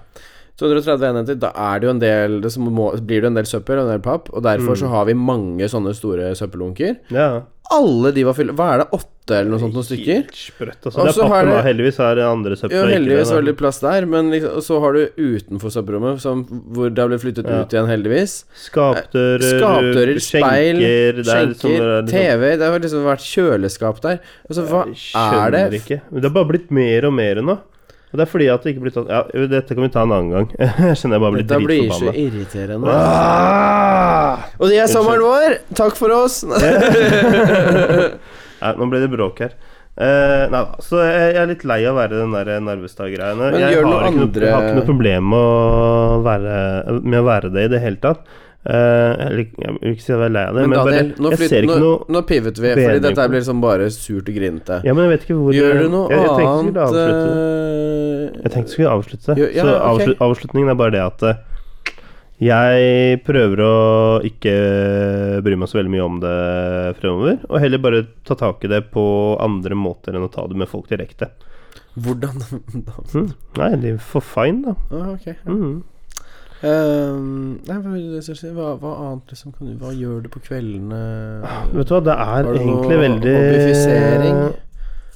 [SPEAKER 2] 230 enheter, da er det jo en del det som må, blir det jo en del søppel og en del papp, og derfor
[SPEAKER 1] Mm.
[SPEAKER 2] så har vi mange sånne store søppeldunker.
[SPEAKER 1] Ja.
[SPEAKER 2] Alle de var fylt Hva er det, åtte eller noe sånt, Sånn noen stykker?
[SPEAKER 1] Helt Sprøtt, altså. Det
[SPEAKER 2] Og
[SPEAKER 1] er
[SPEAKER 2] så har
[SPEAKER 1] pappen,
[SPEAKER 2] det-
[SPEAKER 1] da. Heldigvis er det andre søpla.
[SPEAKER 2] Jo,
[SPEAKER 1] ikke
[SPEAKER 2] heldigvis
[SPEAKER 1] det,
[SPEAKER 2] var det litt plass der, men liksom, og så har du utenfor søppelrommet, som, hvor det har blitt flyttet
[SPEAKER 1] Ja.
[SPEAKER 2] ut igjen, heldigvis.
[SPEAKER 1] da. Skapdører,
[SPEAKER 2] Eh, Skapdører, speil,
[SPEAKER 1] skjenker, det er sånn
[SPEAKER 2] skjenker,
[SPEAKER 1] det er liksom-
[SPEAKER 2] TV Det har liksom vært kjøleskap der. Altså, hva er
[SPEAKER 1] Skjønner
[SPEAKER 2] det?
[SPEAKER 1] ikke. Men det har bare blitt mer og mer nå. Og det er fordi at det ikke blir tatt Ja, jo, dette kan vi ta en annen gang. Jeg kjenner jeg bare blir
[SPEAKER 2] Dette blir så
[SPEAKER 1] dritforbanna.
[SPEAKER 2] irriterende.
[SPEAKER 1] Ah!
[SPEAKER 2] Og det er sommeren vår! Takk for oss!
[SPEAKER 1] Nei, nå ble det bråk her. Eh, nei, da, så jeg, jeg er litt lei av å være den der Narvestad-greiene.
[SPEAKER 2] Men
[SPEAKER 1] Jeg
[SPEAKER 2] gjør du
[SPEAKER 1] har,
[SPEAKER 2] noe
[SPEAKER 1] ikke noe,
[SPEAKER 2] andre-
[SPEAKER 1] jeg har ikke noe problem med å, være, med å være det i det hele tatt. Eh, eller, jeg vil ikke si at jeg er lei av det,
[SPEAKER 2] Men
[SPEAKER 1] men,
[SPEAKER 2] Daniel,
[SPEAKER 1] bare,
[SPEAKER 2] nå,
[SPEAKER 1] jeg
[SPEAKER 2] flyt,
[SPEAKER 1] ser
[SPEAKER 2] nå,
[SPEAKER 1] ikke noe
[SPEAKER 2] nå pivet vi,
[SPEAKER 1] bedring
[SPEAKER 2] fordi dette
[SPEAKER 1] på
[SPEAKER 2] blir liksom bare surt og grinete.
[SPEAKER 1] Ja, men jeg vet ikke hvor
[SPEAKER 2] Gjør du noe
[SPEAKER 1] jeg, jeg tenkte jeg
[SPEAKER 2] annet
[SPEAKER 1] skulle avslutte. Jeg
[SPEAKER 2] eh,
[SPEAKER 1] tenkte jeg skulle avslutte.
[SPEAKER 2] Jo, ja,
[SPEAKER 1] så
[SPEAKER 2] ok.
[SPEAKER 1] avslut, avslutningen er bare det at eh, jeg prøver å ikke eh, bry meg så veldig mye om det fremover, og heller bare ta tak i det på andre måter enn å ta det med folk direkte.
[SPEAKER 2] Hvordan
[SPEAKER 1] Mm. Nei, de er for fine, da.
[SPEAKER 2] ah, Ok.
[SPEAKER 1] Mm.
[SPEAKER 2] Ehm, nei, hva, vil du si? hva, hva annet liksom kan du Hva gjør du på kveldene?
[SPEAKER 1] Vet du hva, det er
[SPEAKER 2] Har du
[SPEAKER 1] egentlig
[SPEAKER 2] noe
[SPEAKER 1] veldig
[SPEAKER 2] objektifisering?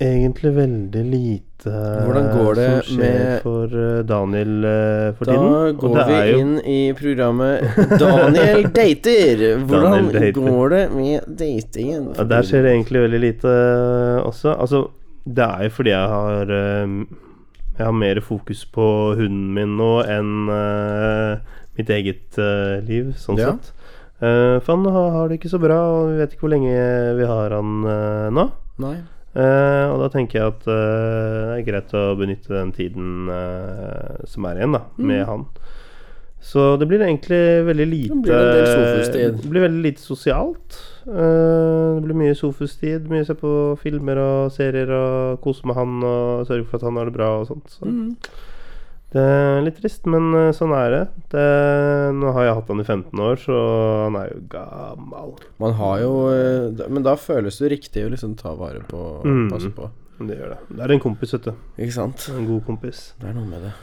[SPEAKER 1] Egentlig veldig lite eh,
[SPEAKER 2] Hvordan går det
[SPEAKER 1] som skjer
[SPEAKER 2] med-
[SPEAKER 1] for eh, Daniel eh, for
[SPEAKER 2] Da
[SPEAKER 1] tiden. og
[SPEAKER 2] går
[SPEAKER 1] det
[SPEAKER 2] vi
[SPEAKER 1] er jo-
[SPEAKER 2] inn i programmet Daniel dater. Hvordan
[SPEAKER 1] Daniel dater.
[SPEAKER 2] går det med datingen?
[SPEAKER 1] Ja, der skjer det egentlig veldig lite eh, også. Altså, det er jo fordi jeg har eh, Jeg har mer fokus på hunden min nå enn eh, mitt eget eh, liv, sånn
[SPEAKER 2] Ja.
[SPEAKER 1] sett. Eh, for han har, har det ikke så bra, og vi vet ikke hvor lenge vi har han eh, nå.
[SPEAKER 2] Nei.
[SPEAKER 1] Eh, og da tenker jeg at eh, det er greit å benytte den tiden eh, som er igjen, da, med han. Så det blir egentlig veldig lite
[SPEAKER 2] Mm. Det blir en del sofustid.
[SPEAKER 1] Det blir veldig lite sosialt. Eh, det blir mye sofustid, mye se på filmer og serier og kose med han og sørge for at han har det bra og sånt. Så.
[SPEAKER 2] Mm.
[SPEAKER 1] Det er litt trist, men eh, sånn er det. det. Nå har jeg hatt han i 15 år, så han er jo gammel.
[SPEAKER 2] Man har jo eh, da- Men da føles det riktig å liksom ta vare på og
[SPEAKER 1] Mm.
[SPEAKER 2] passe på.
[SPEAKER 1] Men det gjør det. Det er en kompis, vet du.
[SPEAKER 2] Ikke sant?
[SPEAKER 1] En god kompis.
[SPEAKER 2] Det er noe med det.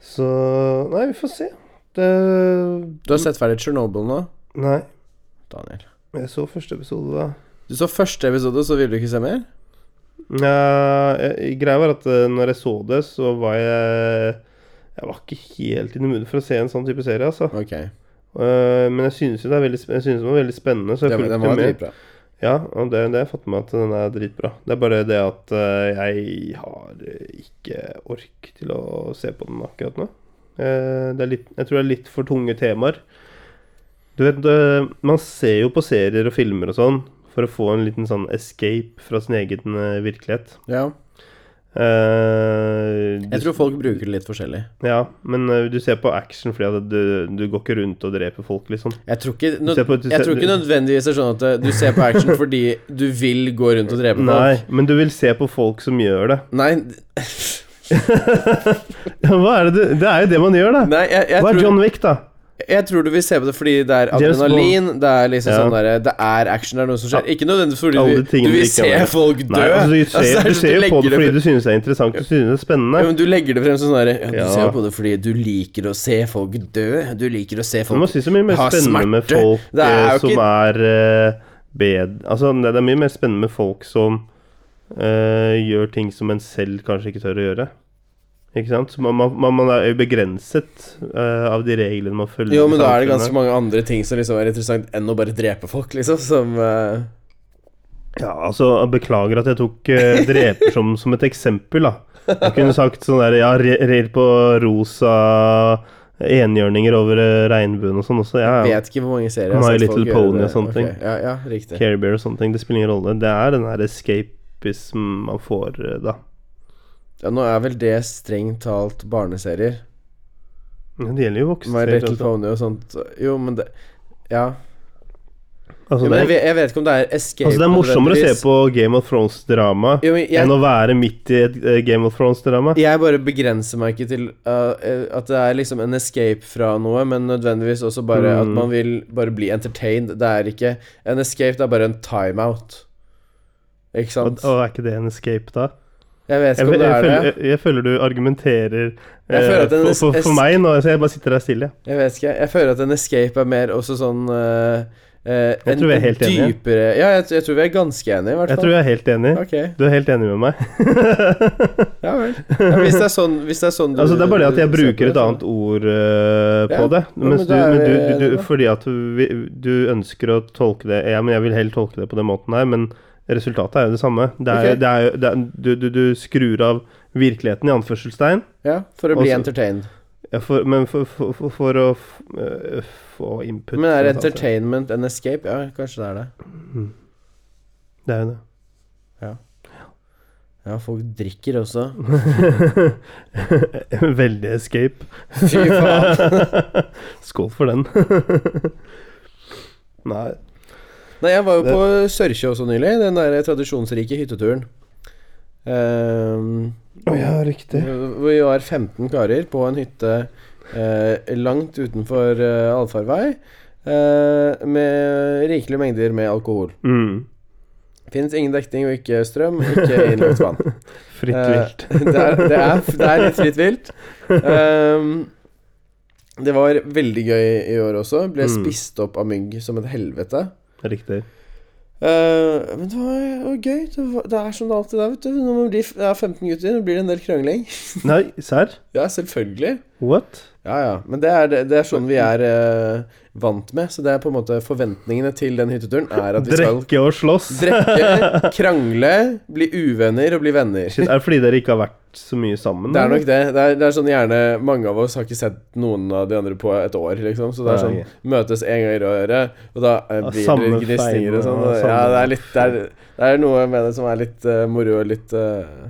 [SPEAKER 1] Så Nei, vi får se. Det
[SPEAKER 2] Du har sett ferdig Chernobyl nå,
[SPEAKER 1] Nei.
[SPEAKER 2] Daniel.
[SPEAKER 1] Jeg så første episode, da.
[SPEAKER 2] Du så første episode, så ville du ikke se mer?
[SPEAKER 1] Nja, jeg- greia var at eh, når jeg så det, så var jeg Jeg var ikke helt i det mood for å se en sånn type serie, altså.
[SPEAKER 2] Ok.
[SPEAKER 1] Eh, men jeg synes jo det er veldig, sp- jeg synes den var veldig spennende, så jeg
[SPEAKER 2] Den,
[SPEAKER 1] fulgte
[SPEAKER 2] den var
[SPEAKER 1] med.
[SPEAKER 2] dritbra.
[SPEAKER 1] Ja, og det, det har jeg fått med at den er dritbra. Det er bare det at eh, jeg har eh, ikke ork til å se på den akkurat nå. Eh, det er litt, jeg tror det er litt for tunge temaer. Du vet, eh, man ser jo på serier og filmer og sånn for å få en liten sånn escape fra sin egen eh, virkelighet.
[SPEAKER 2] Ja.
[SPEAKER 1] Eh, du-
[SPEAKER 2] Jeg tror folk bruker det litt forskjellig.
[SPEAKER 1] Ja, men eh, du ser på action fordi at du, du går ikke rundt og dreper folk, liksom.
[SPEAKER 2] Jeg tror ikke,
[SPEAKER 1] Du ser på- du
[SPEAKER 2] jeg
[SPEAKER 1] ser-
[SPEAKER 2] tror ikke
[SPEAKER 1] du-
[SPEAKER 2] nødvendigvis det er sånn at eh, du ser på action fordi du vil gå rundt og drepe folk.
[SPEAKER 1] Nei, men du vil se på folk som gjør det.
[SPEAKER 2] Nei,
[SPEAKER 1] Hva er det du Det er jo det man gjør, da.
[SPEAKER 2] nei jeg, jeg,
[SPEAKER 1] Hva er
[SPEAKER 2] tror,
[SPEAKER 1] John Wick, da?
[SPEAKER 2] jeg tror du vil se på det fordi det er
[SPEAKER 1] James Bond.
[SPEAKER 2] adrenalin, det er liksom
[SPEAKER 1] Ja.
[SPEAKER 2] sånn der, det er action, det er noe som skjer.
[SPEAKER 1] Ja.
[SPEAKER 2] Ikke nødvendigvis fordi
[SPEAKER 1] Alle de
[SPEAKER 2] du,
[SPEAKER 1] tingene du
[SPEAKER 2] du vil
[SPEAKER 1] ikke
[SPEAKER 2] se
[SPEAKER 1] har vært.
[SPEAKER 2] folk dø.
[SPEAKER 1] Nei, altså, du
[SPEAKER 2] Altså, det
[SPEAKER 1] ser,
[SPEAKER 2] er
[SPEAKER 1] du
[SPEAKER 2] sånn
[SPEAKER 1] ser jo på
[SPEAKER 2] legger
[SPEAKER 1] det fordi du synes det er interessant, du synes det er spennende.
[SPEAKER 2] Ja, men du legger det frem som sånn derre ja, Du
[SPEAKER 1] Ja.
[SPEAKER 2] ser jo på det fordi du liker å se folk dø. Du liker å se
[SPEAKER 1] Men man
[SPEAKER 2] folk
[SPEAKER 1] synes det er mye mer
[SPEAKER 2] Ha
[SPEAKER 1] spennende med
[SPEAKER 2] smerte.
[SPEAKER 1] folk
[SPEAKER 2] Det er
[SPEAKER 1] eh,
[SPEAKER 2] jo
[SPEAKER 1] som er eh, bed... Altså, det det er mye mer spennende med folk som eh, gjør ting som en selv kanskje ikke tør å gjøre. Ikke sant? Så man, man, man er jo begrenset eh, av de reglene man følger.
[SPEAKER 2] Jo, men
[SPEAKER 1] i
[SPEAKER 2] da er det
[SPEAKER 1] samfunnet.
[SPEAKER 2] ganske mange andre ting som liksom er interessant enn å bare drepe folk, liksom, som eh,
[SPEAKER 1] Ja, altså, jeg beklager at jeg tok eh, dreper som, som et eksempel, da. Jeg kunne sagt sånn der Ja, re- rir på rosa enhjørninger over eh, regnbuen og sånn også. Ja, ja.
[SPEAKER 2] Vet ikke hvor mange serier
[SPEAKER 1] My
[SPEAKER 2] sett
[SPEAKER 1] Little
[SPEAKER 2] folk
[SPEAKER 1] Pony
[SPEAKER 2] gjøre det.
[SPEAKER 1] og sånne
[SPEAKER 2] Ok,
[SPEAKER 1] ting.
[SPEAKER 2] Ja, ja, riktig.
[SPEAKER 1] Care Bear og sånne ting. Det spiller ingen rolle. Det er den her escapism man får eh, da.
[SPEAKER 2] Ja, nå er vel det strengt talt barneserier.
[SPEAKER 1] Men det gjelder jo
[SPEAKER 2] My
[SPEAKER 1] voksne.
[SPEAKER 2] Little
[SPEAKER 1] Altså.
[SPEAKER 2] Pony og sånt. Jo, men det Ja.
[SPEAKER 1] Altså,
[SPEAKER 2] Jo, men
[SPEAKER 1] det
[SPEAKER 2] jeg,
[SPEAKER 1] er,
[SPEAKER 2] vet, jeg vet ikke om det er escape
[SPEAKER 1] altså, det er morsommere å se
[SPEAKER 2] nødvendigvis.
[SPEAKER 1] på Game of Thrones-drama
[SPEAKER 2] Jo, men jeg,
[SPEAKER 1] enn å være midt i et eh, Game of Thrones-drama.
[SPEAKER 2] Jeg bare begrenser meg ikke til uh, eh, at det er liksom en escape fra noe, men nødvendigvis også bare at
[SPEAKER 1] Mm.
[SPEAKER 2] man vil bare bli entertained. Det er ikke en escape, det er bare en timeout. Ikke
[SPEAKER 1] Og,
[SPEAKER 2] sant?
[SPEAKER 1] og er ikke det en escape, da?
[SPEAKER 2] Jeg vet
[SPEAKER 1] Jeg,
[SPEAKER 2] ikke om
[SPEAKER 1] jeg,
[SPEAKER 2] det er
[SPEAKER 1] føler,
[SPEAKER 2] det.
[SPEAKER 1] jeg, jeg føler du argumenterer eh,
[SPEAKER 2] Jeg føler at en
[SPEAKER 1] for, for,
[SPEAKER 2] es-
[SPEAKER 1] for meg nå, så jeg bare sitter der stille. jeg.
[SPEAKER 2] Jeg vet ikke. Jeg føler at en escape er mer også sånn eh, eh,
[SPEAKER 1] Jeg tror vi er helt enige.
[SPEAKER 2] dypere Ja, jeg, jeg tror vi er ganske enige, i hvert
[SPEAKER 1] Jeg
[SPEAKER 2] fall.
[SPEAKER 1] tror jeg er helt enig.
[SPEAKER 2] Ok.
[SPEAKER 1] Du er helt enig med meg.
[SPEAKER 2] Ja vel. Ja, hvis det er sånn, hvis det er sånn
[SPEAKER 1] Altså Det er bare det at jeg
[SPEAKER 2] du ser på
[SPEAKER 1] bruker et
[SPEAKER 2] så-
[SPEAKER 1] annet ord eh, på
[SPEAKER 2] Ja,
[SPEAKER 1] det.
[SPEAKER 2] ja, men
[SPEAKER 1] Mens du,
[SPEAKER 2] da er
[SPEAKER 1] men
[SPEAKER 2] vi
[SPEAKER 1] du, du,
[SPEAKER 2] enige,
[SPEAKER 1] du
[SPEAKER 2] da.
[SPEAKER 1] Fordi at vi- du ønsker å tolke det Ja, men jeg vil heller tolke det på den måten her, men resultatet er jo det samme. Det er,
[SPEAKER 2] Ok.
[SPEAKER 1] det er, jo- det er, du, du, du skrur av virkeligheten, i anførselstegn,
[SPEAKER 2] Ja, for å bli
[SPEAKER 1] Også-
[SPEAKER 2] entertained.
[SPEAKER 1] ja, for, men for, for, for, for å f- eh, få input.
[SPEAKER 2] Men er
[SPEAKER 1] fra samfunnet.
[SPEAKER 2] entertainment en escape? Ja, kanskje det er det.
[SPEAKER 1] Mm. Det er jo det.
[SPEAKER 2] Ja, folk drikker også.
[SPEAKER 1] Veldig escape.
[SPEAKER 2] Fy faen.
[SPEAKER 1] Skål for den. Nei.
[SPEAKER 2] Nei, jeg var jo på Sørkje også nylig. Den der tradisjonsrike hytteturen. Ehm,
[SPEAKER 1] Å ja, riktig.
[SPEAKER 2] hvor Eh, vi var 15 karer på en hytte eh, langt utenfor eh, allfarvei. eh, med rikelige mengder med alkohol.
[SPEAKER 1] Mm.
[SPEAKER 2] Fins ingen dekning og ikke strøm, ikke innløpsvann.
[SPEAKER 1] Fritt
[SPEAKER 2] Eh,
[SPEAKER 1] vilt.
[SPEAKER 2] det, er, det, er, det er litt fritt vilt. Ehm, det var veldig gøy i år også. Ble
[SPEAKER 1] Mm.
[SPEAKER 2] spist opp av mygg som et helvete.
[SPEAKER 1] Riktig.
[SPEAKER 2] Eh, men det var, det var gøy. Det, var, det er som det alltid er. vet du Når man blir det er 15 gutter, blir det en del krangling.
[SPEAKER 1] Nei, serr?
[SPEAKER 2] Ja, selvfølgelig.
[SPEAKER 1] What?
[SPEAKER 2] Ja, ja. Men det er, det er sånn vi er eh, vant med. Så det er på en måte forventningene til den hytteturen er at vi skal
[SPEAKER 1] Drekke og slåss?
[SPEAKER 2] drikke, krangle, bli uvenner og bli venner.
[SPEAKER 1] Shit, er det fordi dere ikke har vært så mye sammen?
[SPEAKER 2] Det er
[SPEAKER 1] eller?
[SPEAKER 2] nok det. Det er, det er sånn gjerne Mange av oss har ikke sett noen av de andre på et år, liksom. Så det er
[SPEAKER 1] Nei,
[SPEAKER 2] sånn Møtes en gang i røret, og da eh,
[SPEAKER 1] Ja,
[SPEAKER 2] blir det
[SPEAKER 1] samme
[SPEAKER 2] litt gnisninger og
[SPEAKER 1] feil,
[SPEAKER 2] sånn.
[SPEAKER 1] ja,
[SPEAKER 2] og-
[SPEAKER 1] samme-
[SPEAKER 2] Ja, det er litt Det er, det er noe med det som er litt eh, moro og litt eh,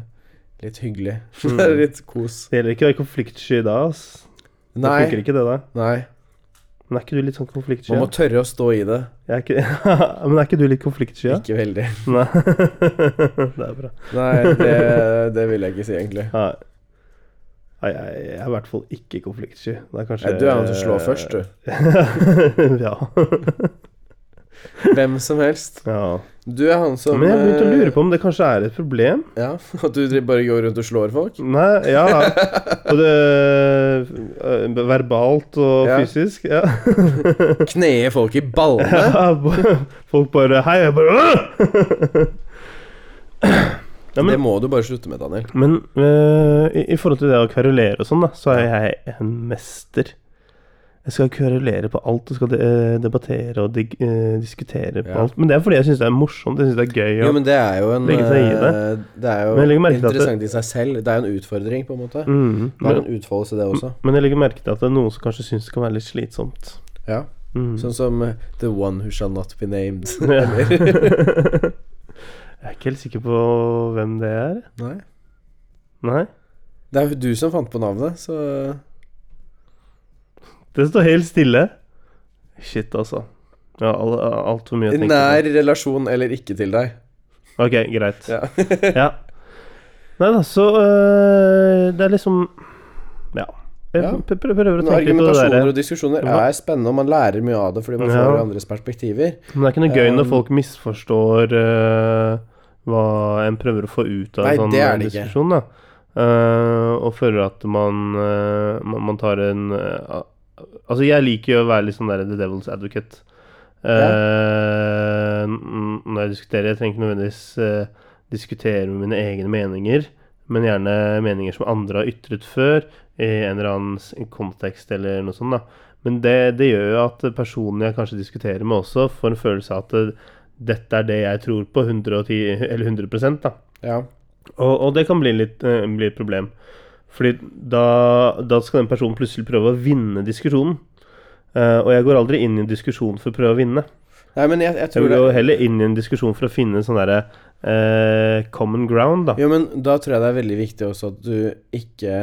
[SPEAKER 2] Litt hyggelig. Det
[SPEAKER 1] Mm.
[SPEAKER 2] er litt kos.
[SPEAKER 1] Det gjelder ikke å være konfliktsky da, ass. Det
[SPEAKER 2] Nei.
[SPEAKER 1] funker ikke det da.
[SPEAKER 2] Nei.
[SPEAKER 1] Men er ikke du litt sånn konfliktsky?
[SPEAKER 2] Man må
[SPEAKER 1] ja?
[SPEAKER 2] tørre å stå i det.
[SPEAKER 1] Jeg er ikke... Men er ikke du litt konfliktsky? Ja?
[SPEAKER 2] Ikke veldig.
[SPEAKER 1] Nei. det er bra.
[SPEAKER 2] Nei, det, det vil jeg ikke si, egentlig.
[SPEAKER 1] Nei. Nei, jeg, jeg er i hvert fall ikke konfliktsky. Det er kanskje
[SPEAKER 2] Nei, Du er han som slår først, du.
[SPEAKER 1] ja.
[SPEAKER 2] Hvem som helst.
[SPEAKER 1] ja.
[SPEAKER 2] Du er han som
[SPEAKER 1] Men jeg begynte å
[SPEAKER 2] eh,
[SPEAKER 1] lure på om det kanskje er et problem.
[SPEAKER 2] Ja, At du dri- bare går rundt og slår folk?
[SPEAKER 1] Nei, ja Både øh, verbalt og
[SPEAKER 2] Ja.
[SPEAKER 1] fysisk. Ja.
[SPEAKER 2] Kneer folk i ballene?
[SPEAKER 1] Ja, b- Folk bare Hei, jeg bare «Åh!» Ja,
[SPEAKER 2] Det
[SPEAKER 1] men,
[SPEAKER 2] må du bare slutte med, Daniel.
[SPEAKER 1] men øh, i, i forhold til det å kverulere og sånn, da, så er jeg en mester. Jeg skal kverulere på alt og skal de, øh, debattere og dig, øh, diskutere på
[SPEAKER 2] Ja.
[SPEAKER 1] alt. Men det er fordi jeg syns det er morsomt. Jeg synes det er gøy.
[SPEAKER 2] Jo,
[SPEAKER 1] Og,
[SPEAKER 2] men det er jo en
[SPEAKER 1] Legge seg i det.
[SPEAKER 2] eh, Det er
[SPEAKER 1] Men jeg legger
[SPEAKER 2] jo
[SPEAKER 1] merke til at det-
[SPEAKER 2] interessant i seg selv. Det er jo en utfordring, på en måte.
[SPEAKER 1] mm,
[SPEAKER 2] Det er
[SPEAKER 1] men,
[SPEAKER 2] en utfoldelse, det også.
[SPEAKER 1] men jeg legger merke til at det er noen som kanskje syns det kan være litt slitsomt.
[SPEAKER 2] Ja.
[SPEAKER 1] Mm.
[SPEAKER 2] Sånn som eh, The One Who Shall Not Be Named.
[SPEAKER 1] Ja. jeg er ikke helt sikker på hvem det er.
[SPEAKER 2] Nei.
[SPEAKER 1] Nei.
[SPEAKER 2] Det er jo du som fant på navnet, så
[SPEAKER 1] Det står helt stille. Shit, altså. Ja, al- Altfor mye å
[SPEAKER 2] I
[SPEAKER 1] tenke
[SPEAKER 2] nær relasjon eller ikke til deg.
[SPEAKER 1] på. Ok, greit.
[SPEAKER 2] Ja.
[SPEAKER 1] ja. Nei da, så øh, Det er liksom Ja. Jeg
[SPEAKER 2] Ja.
[SPEAKER 1] pr- pr- prøver å
[SPEAKER 2] Men
[SPEAKER 1] tenke litt på det der.
[SPEAKER 2] argumentasjoner og diskusjoner er spennende, og man lærer mye av det fordi man får
[SPEAKER 1] Ja.
[SPEAKER 2] andres perspektiver.
[SPEAKER 1] Men det er ikke noe gøy når
[SPEAKER 2] Um,
[SPEAKER 1] folk misforstår øh, hva en prøver å få ut av
[SPEAKER 2] Nei,
[SPEAKER 1] en sånn
[SPEAKER 2] det er det ikke.
[SPEAKER 1] diskusjon. da. Eh, og føler at man, eh, man, man tar en eh, Altså, jeg liker jo å være litt sånn der the devil's advocate. Eh, n- Når jeg diskuterer. Jeg trenger ikke nødvendigvis eh, diskutere med mine egne meninger, men gjerne meninger som andre har ytret før, i en eller annen s- kontekst eller noe sånt. da. Men det, det gjør jo at personen jeg kanskje diskuterer med også, får en følelse av at eh, dette er det jeg tror på 110, eller 100 da.
[SPEAKER 2] Ja.
[SPEAKER 1] Og, og det kan bli, litt, eh, bli et problem. Fordi da, da skal den personen plutselig prøve å vinne diskusjonen. Eh, og jeg går aldri inn i en diskusjon for å prøve å vinne.
[SPEAKER 2] Nei, men jeg, jeg
[SPEAKER 1] Jeg
[SPEAKER 2] tror
[SPEAKER 1] vil
[SPEAKER 2] det
[SPEAKER 1] jo heller inn i en diskusjon for å finne sånn derre eh, common ground, da.
[SPEAKER 2] Jo, men da tror jeg det er veldig viktig også at du ikke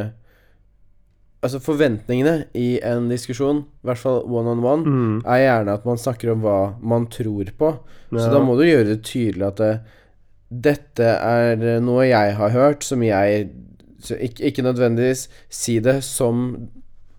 [SPEAKER 2] Altså, forventningene i en diskusjon, i hvert fall one on one,
[SPEAKER 1] Mm,
[SPEAKER 2] er gjerne at man snakker om hva man tror på. Så
[SPEAKER 1] ja.
[SPEAKER 2] da må du gjøre det tydelig at det, dette er noe jeg har hørt, som jeg så ikke, ikke nødvendigvis si det som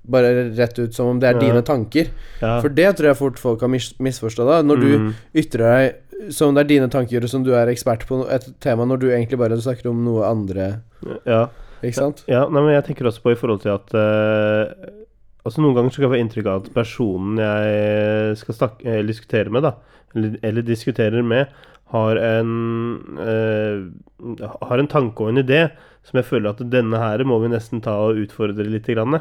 [SPEAKER 2] Bare rett ut som om det er
[SPEAKER 1] Ja.
[SPEAKER 2] dine tanker.
[SPEAKER 1] ja.
[SPEAKER 2] For det tror jeg fort folk har mis misforstått. da Når du
[SPEAKER 1] Mm.
[SPEAKER 2] ytrer deg Så om det er dine tanker som du er ekspert på no- et tema, når du egentlig bare snakker om noe andre,
[SPEAKER 1] Ja.
[SPEAKER 2] ikke sant?
[SPEAKER 1] Ja, nei, men jeg tenker også på i forhold til at eh, Altså Noen ganger så kan jeg få inntrykk av at personen jeg skal snakke, eller diskutere med, da, eller, eller diskuterer med, har en eh, Har en tanke og en idé som jeg føler at denne her må vi nesten ta og utfordre litt grann,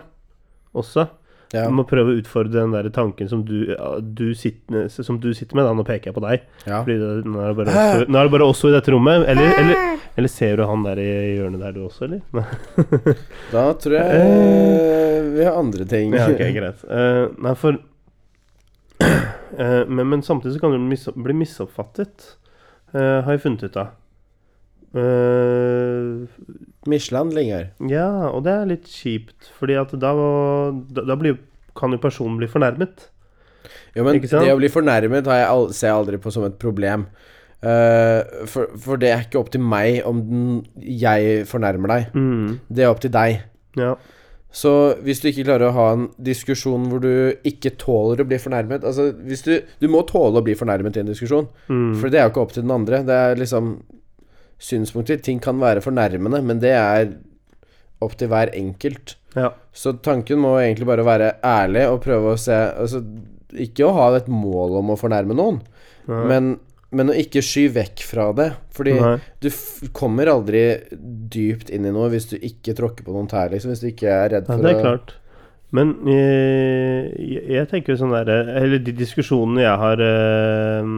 [SPEAKER 1] også.
[SPEAKER 2] Ja.
[SPEAKER 1] Vi må prøve å utfordre den der tanken som du, ja, du, sitter, som du sitter med. Da. Nå peker jeg på deg.
[SPEAKER 2] ja.
[SPEAKER 1] Fordi det, nå, er det bare oss, nå er det bare oss to i dette rommet. Eller, eller, eller ser du han der i hjørnet der, du også, eller? Nei.
[SPEAKER 2] Da tror jeg eh, vi har andre ting.
[SPEAKER 1] Ja, ok, greit. Eh, nei, for Eh, men, men samtidig så kan du mis bli misoppfattet, eh, har jeg funnet ut av. Eh,
[SPEAKER 2] Michelin lenger.
[SPEAKER 1] ja, og det er litt kjipt, fordi at da, da, da blir, kan jo personen bli fornærmet.
[SPEAKER 2] Jo, men
[SPEAKER 1] Ikke sant?
[SPEAKER 2] det å bli fornærmet har jeg al ser jeg aldri på som et problem. Eh, for, for det er ikke opp til meg om den, jeg fornærmer deg. Det er opp til deg.
[SPEAKER 1] Ja.
[SPEAKER 2] Så hvis du ikke klarer å ha en diskusjon hvor du ikke tåler å bli fornærmet Altså, hvis du Du må tåle å bli fornærmet i en diskusjon,
[SPEAKER 1] Mm.
[SPEAKER 2] for det er jo ikke opp til den andre. Det er liksom synspunkter. Ting kan være fornærmende, men det er opp til hver enkelt.
[SPEAKER 1] ja.
[SPEAKER 2] Så tanken må egentlig bare være ærlig og prøve å se Altså, ikke å ha et mål om å fornærme noen,
[SPEAKER 1] Nei.
[SPEAKER 2] men, men å ikke sky vekk fra det. Fordi
[SPEAKER 1] Nei.
[SPEAKER 2] du f kommer aldri dypt inn i noe hvis du ikke tråkker på noen tær, liksom. Hvis du ikke er redd
[SPEAKER 1] Ja,
[SPEAKER 2] for
[SPEAKER 1] det er
[SPEAKER 2] å
[SPEAKER 1] klart. Men eh, jeg, jeg tenker jo sånn derre Eller de diskusjonene jeg har eh,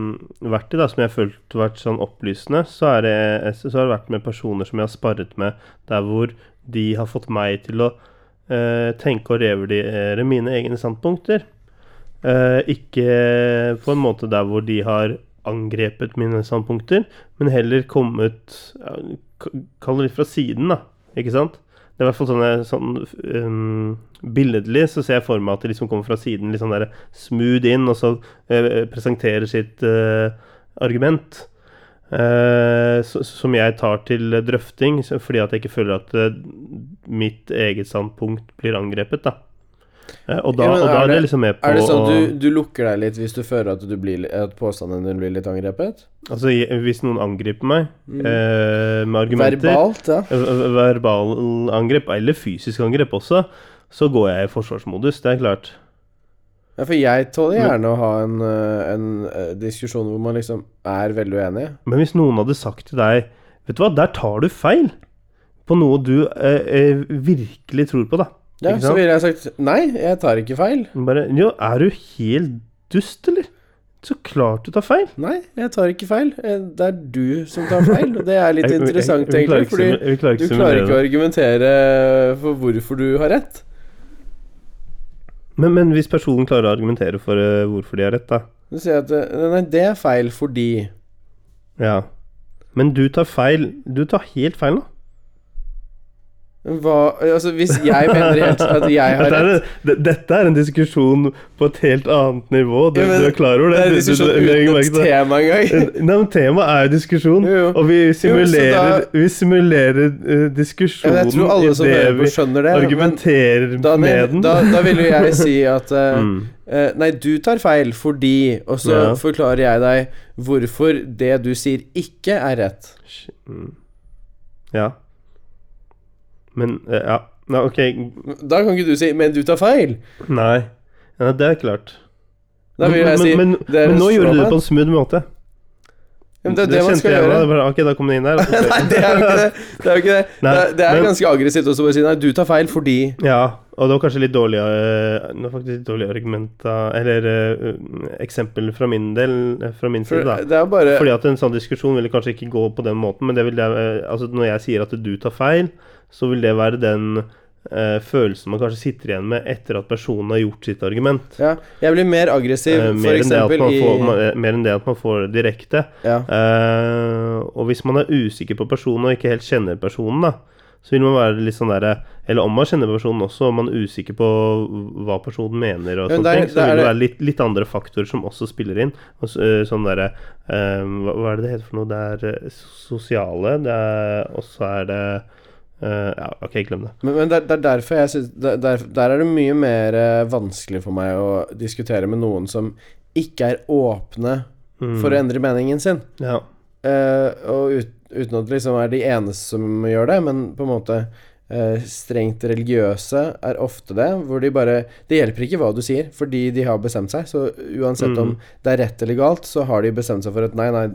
[SPEAKER 1] vært i, da, som jeg har følt vært sånn opplysende, så, er det, så har det vært med personer som jeg har sparret med, der hvor de har fått meg til å eh, tenke og revurdere mine egne standpunkter. Eh, ikke på en måte der hvor de har angrepet mine standpunkter, men heller kommet ja, k- Kall det litt fra siden, da. Ikke sant? Det er i hvert fall sånn, jeg- sånn um, Billedlig så ser jeg for meg at de liksom kommer fra siden, litt sånn der smooth inn, og så eh, presenterer sitt eh, argument. Eh, så- som jeg tar til drøfting, så- fordi at jeg ikke føler at eh, mitt eget standpunkt blir angrepet, da. Eh, og da,
[SPEAKER 2] Ja, men
[SPEAKER 1] og da
[SPEAKER 2] er
[SPEAKER 1] er det
[SPEAKER 2] det-
[SPEAKER 1] liksom med på
[SPEAKER 2] Er det
[SPEAKER 1] å-
[SPEAKER 2] sånn du, du lukker deg litt hvis du føler at, du blir, li- at påstanden din blir litt angrepet?
[SPEAKER 1] Altså, jeg- hvis noen angriper meg
[SPEAKER 2] Mm.
[SPEAKER 1] eh, med argumenter eh,
[SPEAKER 2] Verbalt, ja.
[SPEAKER 1] Verbal Verbalangrep, eller fysisk angrep også, så går jeg i forsvarsmodus, det er klart.
[SPEAKER 2] ja. For jeg tåler gjerne å ha en, øh, en øh, diskusjon hvor man liksom er veldig uenig.
[SPEAKER 1] Men hvis noen hadde sagt til deg Vet du hva, der tar du feil! På noe du eh, eh, virkelig tror på, da.
[SPEAKER 2] Ja,
[SPEAKER 1] Ikke
[SPEAKER 2] så
[SPEAKER 1] sant?
[SPEAKER 2] ville jeg sagt nei, jeg tar ikke feil.
[SPEAKER 1] Bare Jo, er du helt dust, eller? Så klart du tar feil!
[SPEAKER 2] Nei, jeg tar ikke feil. Eh, Det er du som tar feil. Og det er litt
[SPEAKER 1] Jeg- jeg-
[SPEAKER 2] interessant,
[SPEAKER 1] jeg- vi klarer
[SPEAKER 2] egentlig,
[SPEAKER 1] ikke
[SPEAKER 2] fordi
[SPEAKER 1] simu- vi klarer
[SPEAKER 2] du
[SPEAKER 1] ikke
[SPEAKER 2] klarer
[SPEAKER 1] simulere
[SPEAKER 2] ikke
[SPEAKER 1] det.
[SPEAKER 2] å argumentere for hvorfor du har rett.
[SPEAKER 1] Men, men hvis personen klarer å argumentere for eh, hvorfor de har rett, da.
[SPEAKER 2] Du sier at eh, nei, det er feil fordi
[SPEAKER 1] Ja. Men du tar feil. Du tar helt feil, da.
[SPEAKER 2] hva, Altså, hvis jeg mener helt at jeg har
[SPEAKER 1] Dette
[SPEAKER 2] rett
[SPEAKER 1] er, en, dette er en diskusjon på et helt annet nivå. Du,
[SPEAKER 2] Ja, men
[SPEAKER 1] du er klar over det?
[SPEAKER 2] Det er en
[SPEAKER 1] Du- du-
[SPEAKER 2] diskusjon
[SPEAKER 1] du- du-
[SPEAKER 2] uten
[SPEAKER 1] legger
[SPEAKER 2] et
[SPEAKER 1] merke til det.
[SPEAKER 2] tema engang.
[SPEAKER 1] Nei, men Temaet er jo diskusjon,
[SPEAKER 2] Jo, jo.
[SPEAKER 1] og vi simulerer,
[SPEAKER 2] da-
[SPEAKER 1] vi simulerer eh,
[SPEAKER 2] Ja,
[SPEAKER 1] diskusjonen
[SPEAKER 2] men Jeg tror alle som
[SPEAKER 1] i
[SPEAKER 2] hører
[SPEAKER 1] det
[SPEAKER 2] på,
[SPEAKER 1] vi
[SPEAKER 2] skjønner det. men
[SPEAKER 1] argumenterer
[SPEAKER 2] da,
[SPEAKER 1] med den.
[SPEAKER 2] da, da vil jo jeg si at eh,
[SPEAKER 1] Mm.
[SPEAKER 2] eh, Nei, du tar feil fordi Og så
[SPEAKER 1] Ja.
[SPEAKER 2] forklarer jeg deg hvorfor det du sier, ikke er rett.
[SPEAKER 1] Sh- mm. Ja. Men eh, Ja. Nei, ok.
[SPEAKER 2] Da kan ikke du si 'men du tar feil'.
[SPEAKER 1] Nei. Ja, det er klart.
[SPEAKER 2] Da vil
[SPEAKER 1] men,
[SPEAKER 2] jeg si
[SPEAKER 1] men,
[SPEAKER 2] det er
[SPEAKER 1] men
[SPEAKER 2] en
[SPEAKER 1] nå gjorde du det
[SPEAKER 2] strawman.
[SPEAKER 1] på en smooth måte.
[SPEAKER 2] Ja, men det er det man
[SPEAKER 1] kjente
[SPEAKER 2] skal
[SPEAKER 1] jeg
[SPEAKER 2] gjøre.
[SPEAKER 1] da. Bare, Ok, da kom det inn der. og så-
[SPEAKER 2] Nei, det er jo ikke det. Det er, jo ikke det.
[SPEAKER 1] Nei,
[SPEAKER 2] det, er- det er
[SPEAKER 1] men-
[SPEAKER 2] ganske aggressivt også bare å si 'nei, du tar feil fordi'
[SPEAKER 1] Ja, og det var kanskje litt dårlig eh, Det var faktisk litt dårlig argument da, Eller eh, eksempel fra min del eh, Fra min
[SPEAKER 2] For eh,
[SPEAKER 1] side da
[SPEAKER 2] det er jo bare
[SPEAKER 1] Fordi at en sånn diskusjon ville kanskje ikke gå på den måten Men det vil jeg, eh, altså når jeg sier at du tar feil Så vil det være den eh, følelsen man kanskje sitter igjen med Etter at personen har gjort sitt argument
[SPEAKER 2] ja, Jeg blir mer aggressiv,
[SPEAKER 1] Eh,
[SPEAKER 2] for
[SPEAKER 1] mer, enn det at
[SPEAKER 2] eksempel
[SPEAKER 1] man
[SPEAKER 2] i
[SPEAKER 1] får, man, eh, mer enn det at man får det direkte
[SPEAKER 2] ja.
[SPEAKER 1] Eh, og hvis man er usikker på personen og ikke helt kjenner personen, da, så vil man være litt sånn derre Eller om man kjenner personen også, om man er usikker på hva personen mener og
[SPEAKER 2] Ja, men
[SPEAKER 1] sånne
[SPEAKER 2] der-
[SPEAKER 1] ting, så
[SPEAKER 2] der er
[SPEAKER 1] vil det
[SPEAKER 2] det-
[SPEAKER 1] være litt, litt andre faktorer som også spiller inn. Og, så- eh, sånn derre eh, hva, hva er det det heter for noe? Det er eh, sosiale, det er Og så er det eh, Ja, OK, glem det.
[SPEAKER 2] Men, men det, er- det er derfor jeg synes der, der, der er det mye mer eh, vanskelig for meg å diskutere med noen som ikke er åpne
[SPEAKER 1] Mm.
[SPEAKER 2] for å endre meningen sin.
[SPEAKER 1] Ja.
[SPEAKER 2] Eh, og ut, uten at det liksom er de eneste som gjør det, men på en måte eh, strengt religiøse er ofte det, hvor de bare Det hjelper ikke hva du sier, fordi de har bestemt seg. Så uansett om det er rett eller galt, så har de bestemt seg for at nei, nei,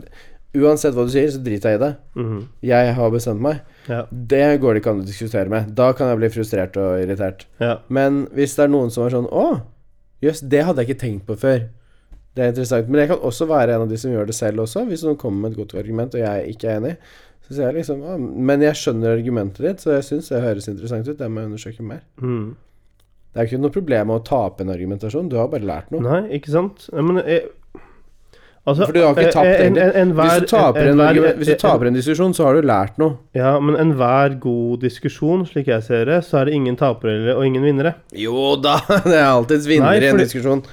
[SPEAKER 2] uansett hva du sier, så driter jeg i det.
[SPEAKER 1] Mhm.
[SPEAKER 2] Jeg har bestemt meg.
[SPEAKER 1] ja.
[SPEAKER 2] Det går det ikke an å diskutere med. Da kan jeg bli frustrert og irritert.
[SPEAKER 1] Ja.
[SPEAKER 2] Men hvis det er noen som er sånn Å, jøss, det hadde jeg ikke tenkt på før. Det er interessant. Men jeg kan også være en av de som gjør det selv også, hvis noen kommer med et godt argument og jeg ikke er enig. Så sier jeg liksom «Å, Men jeg skjønner argumentet ditt, så jeg syns det høres interessant ut. Det må jeg undersøke mer.
[SPEAKER 1] Mhm.
[SPEAKER 2] Det er ikke noe problem med å tape en argumentasjon, du har bare lært noe.
[SPEAKER 1] Nei, ikke sant? Ja, Men jeg, altså, eh,
[SPEAKER 2] For du har ikke tapt
[SPEAKER 1] en, en, en,
[SPEAKER 2] egentlig.
[SPEAKER 1] eh, enhver-
[SPEAKER 2] Hvis du taper en,
[SPEAKER 1] enhver-
[SPEAKER 2] argument, hvis du taper en diskusjon, så har du lært noe.
[SPEAKER 1] Ja, men enhver god diskusjon, slik jeg ser det, så er det ingen tapere eller- og ingen vinnere.
[SPEAKER 2] Jo da, det er alltids vinner
[SPEAKER 1] Nei,
[SPEAKER 2] i en
[SPEAKER 1] fordi-
[SPEAKER 2] diskusjon.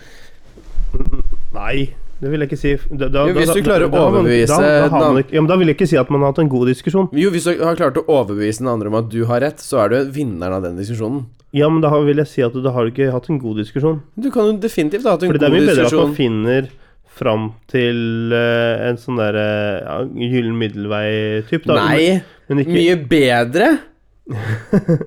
[SPEAKER 1] Nei, det vil jeg ikke si. Da, da,
[SPEAKER 2] Jo, hvis
[SPEAKER 1] da-
[SPEAKER 2] du
[SPEAKER 1] da-
[SPEAKER 2] klarer å
[SPEAKER 1] da har man-
[SPEAKER 2] overbevise
[SPEAKER 1] da, da, har man
[SPEAKER 2] den-
[SPEAKER 1] ikke, ja, men da vil jeg ikke si at man har hatt en god diskusjon.
[SPEAKER 2] Jo, hvis du har klart å overbevise den andre om at du har rett, så er du vinneren av den diskusjonen.
[SPEAKER 1] Ja, men da har- vil jeg si at da har du ikke hatt en god diskusjon.
[SPEAKER 2] Du kan jo definitivt ha hatt en
[SPEAKER 1] Fordi det er
[SPEAKER 2] god
[SPEAKER 1] mye bedre at man
[SPEAKER 2] diskusjon.
[SPEAKER 1] finner fram til eh, en sånn derre ja, gyllen middelvei-type, da.
[SPEAKER 2] Nei,
[SPEAKER 1] Men, men, ikke,
[SPEAKER 2] mye bedre?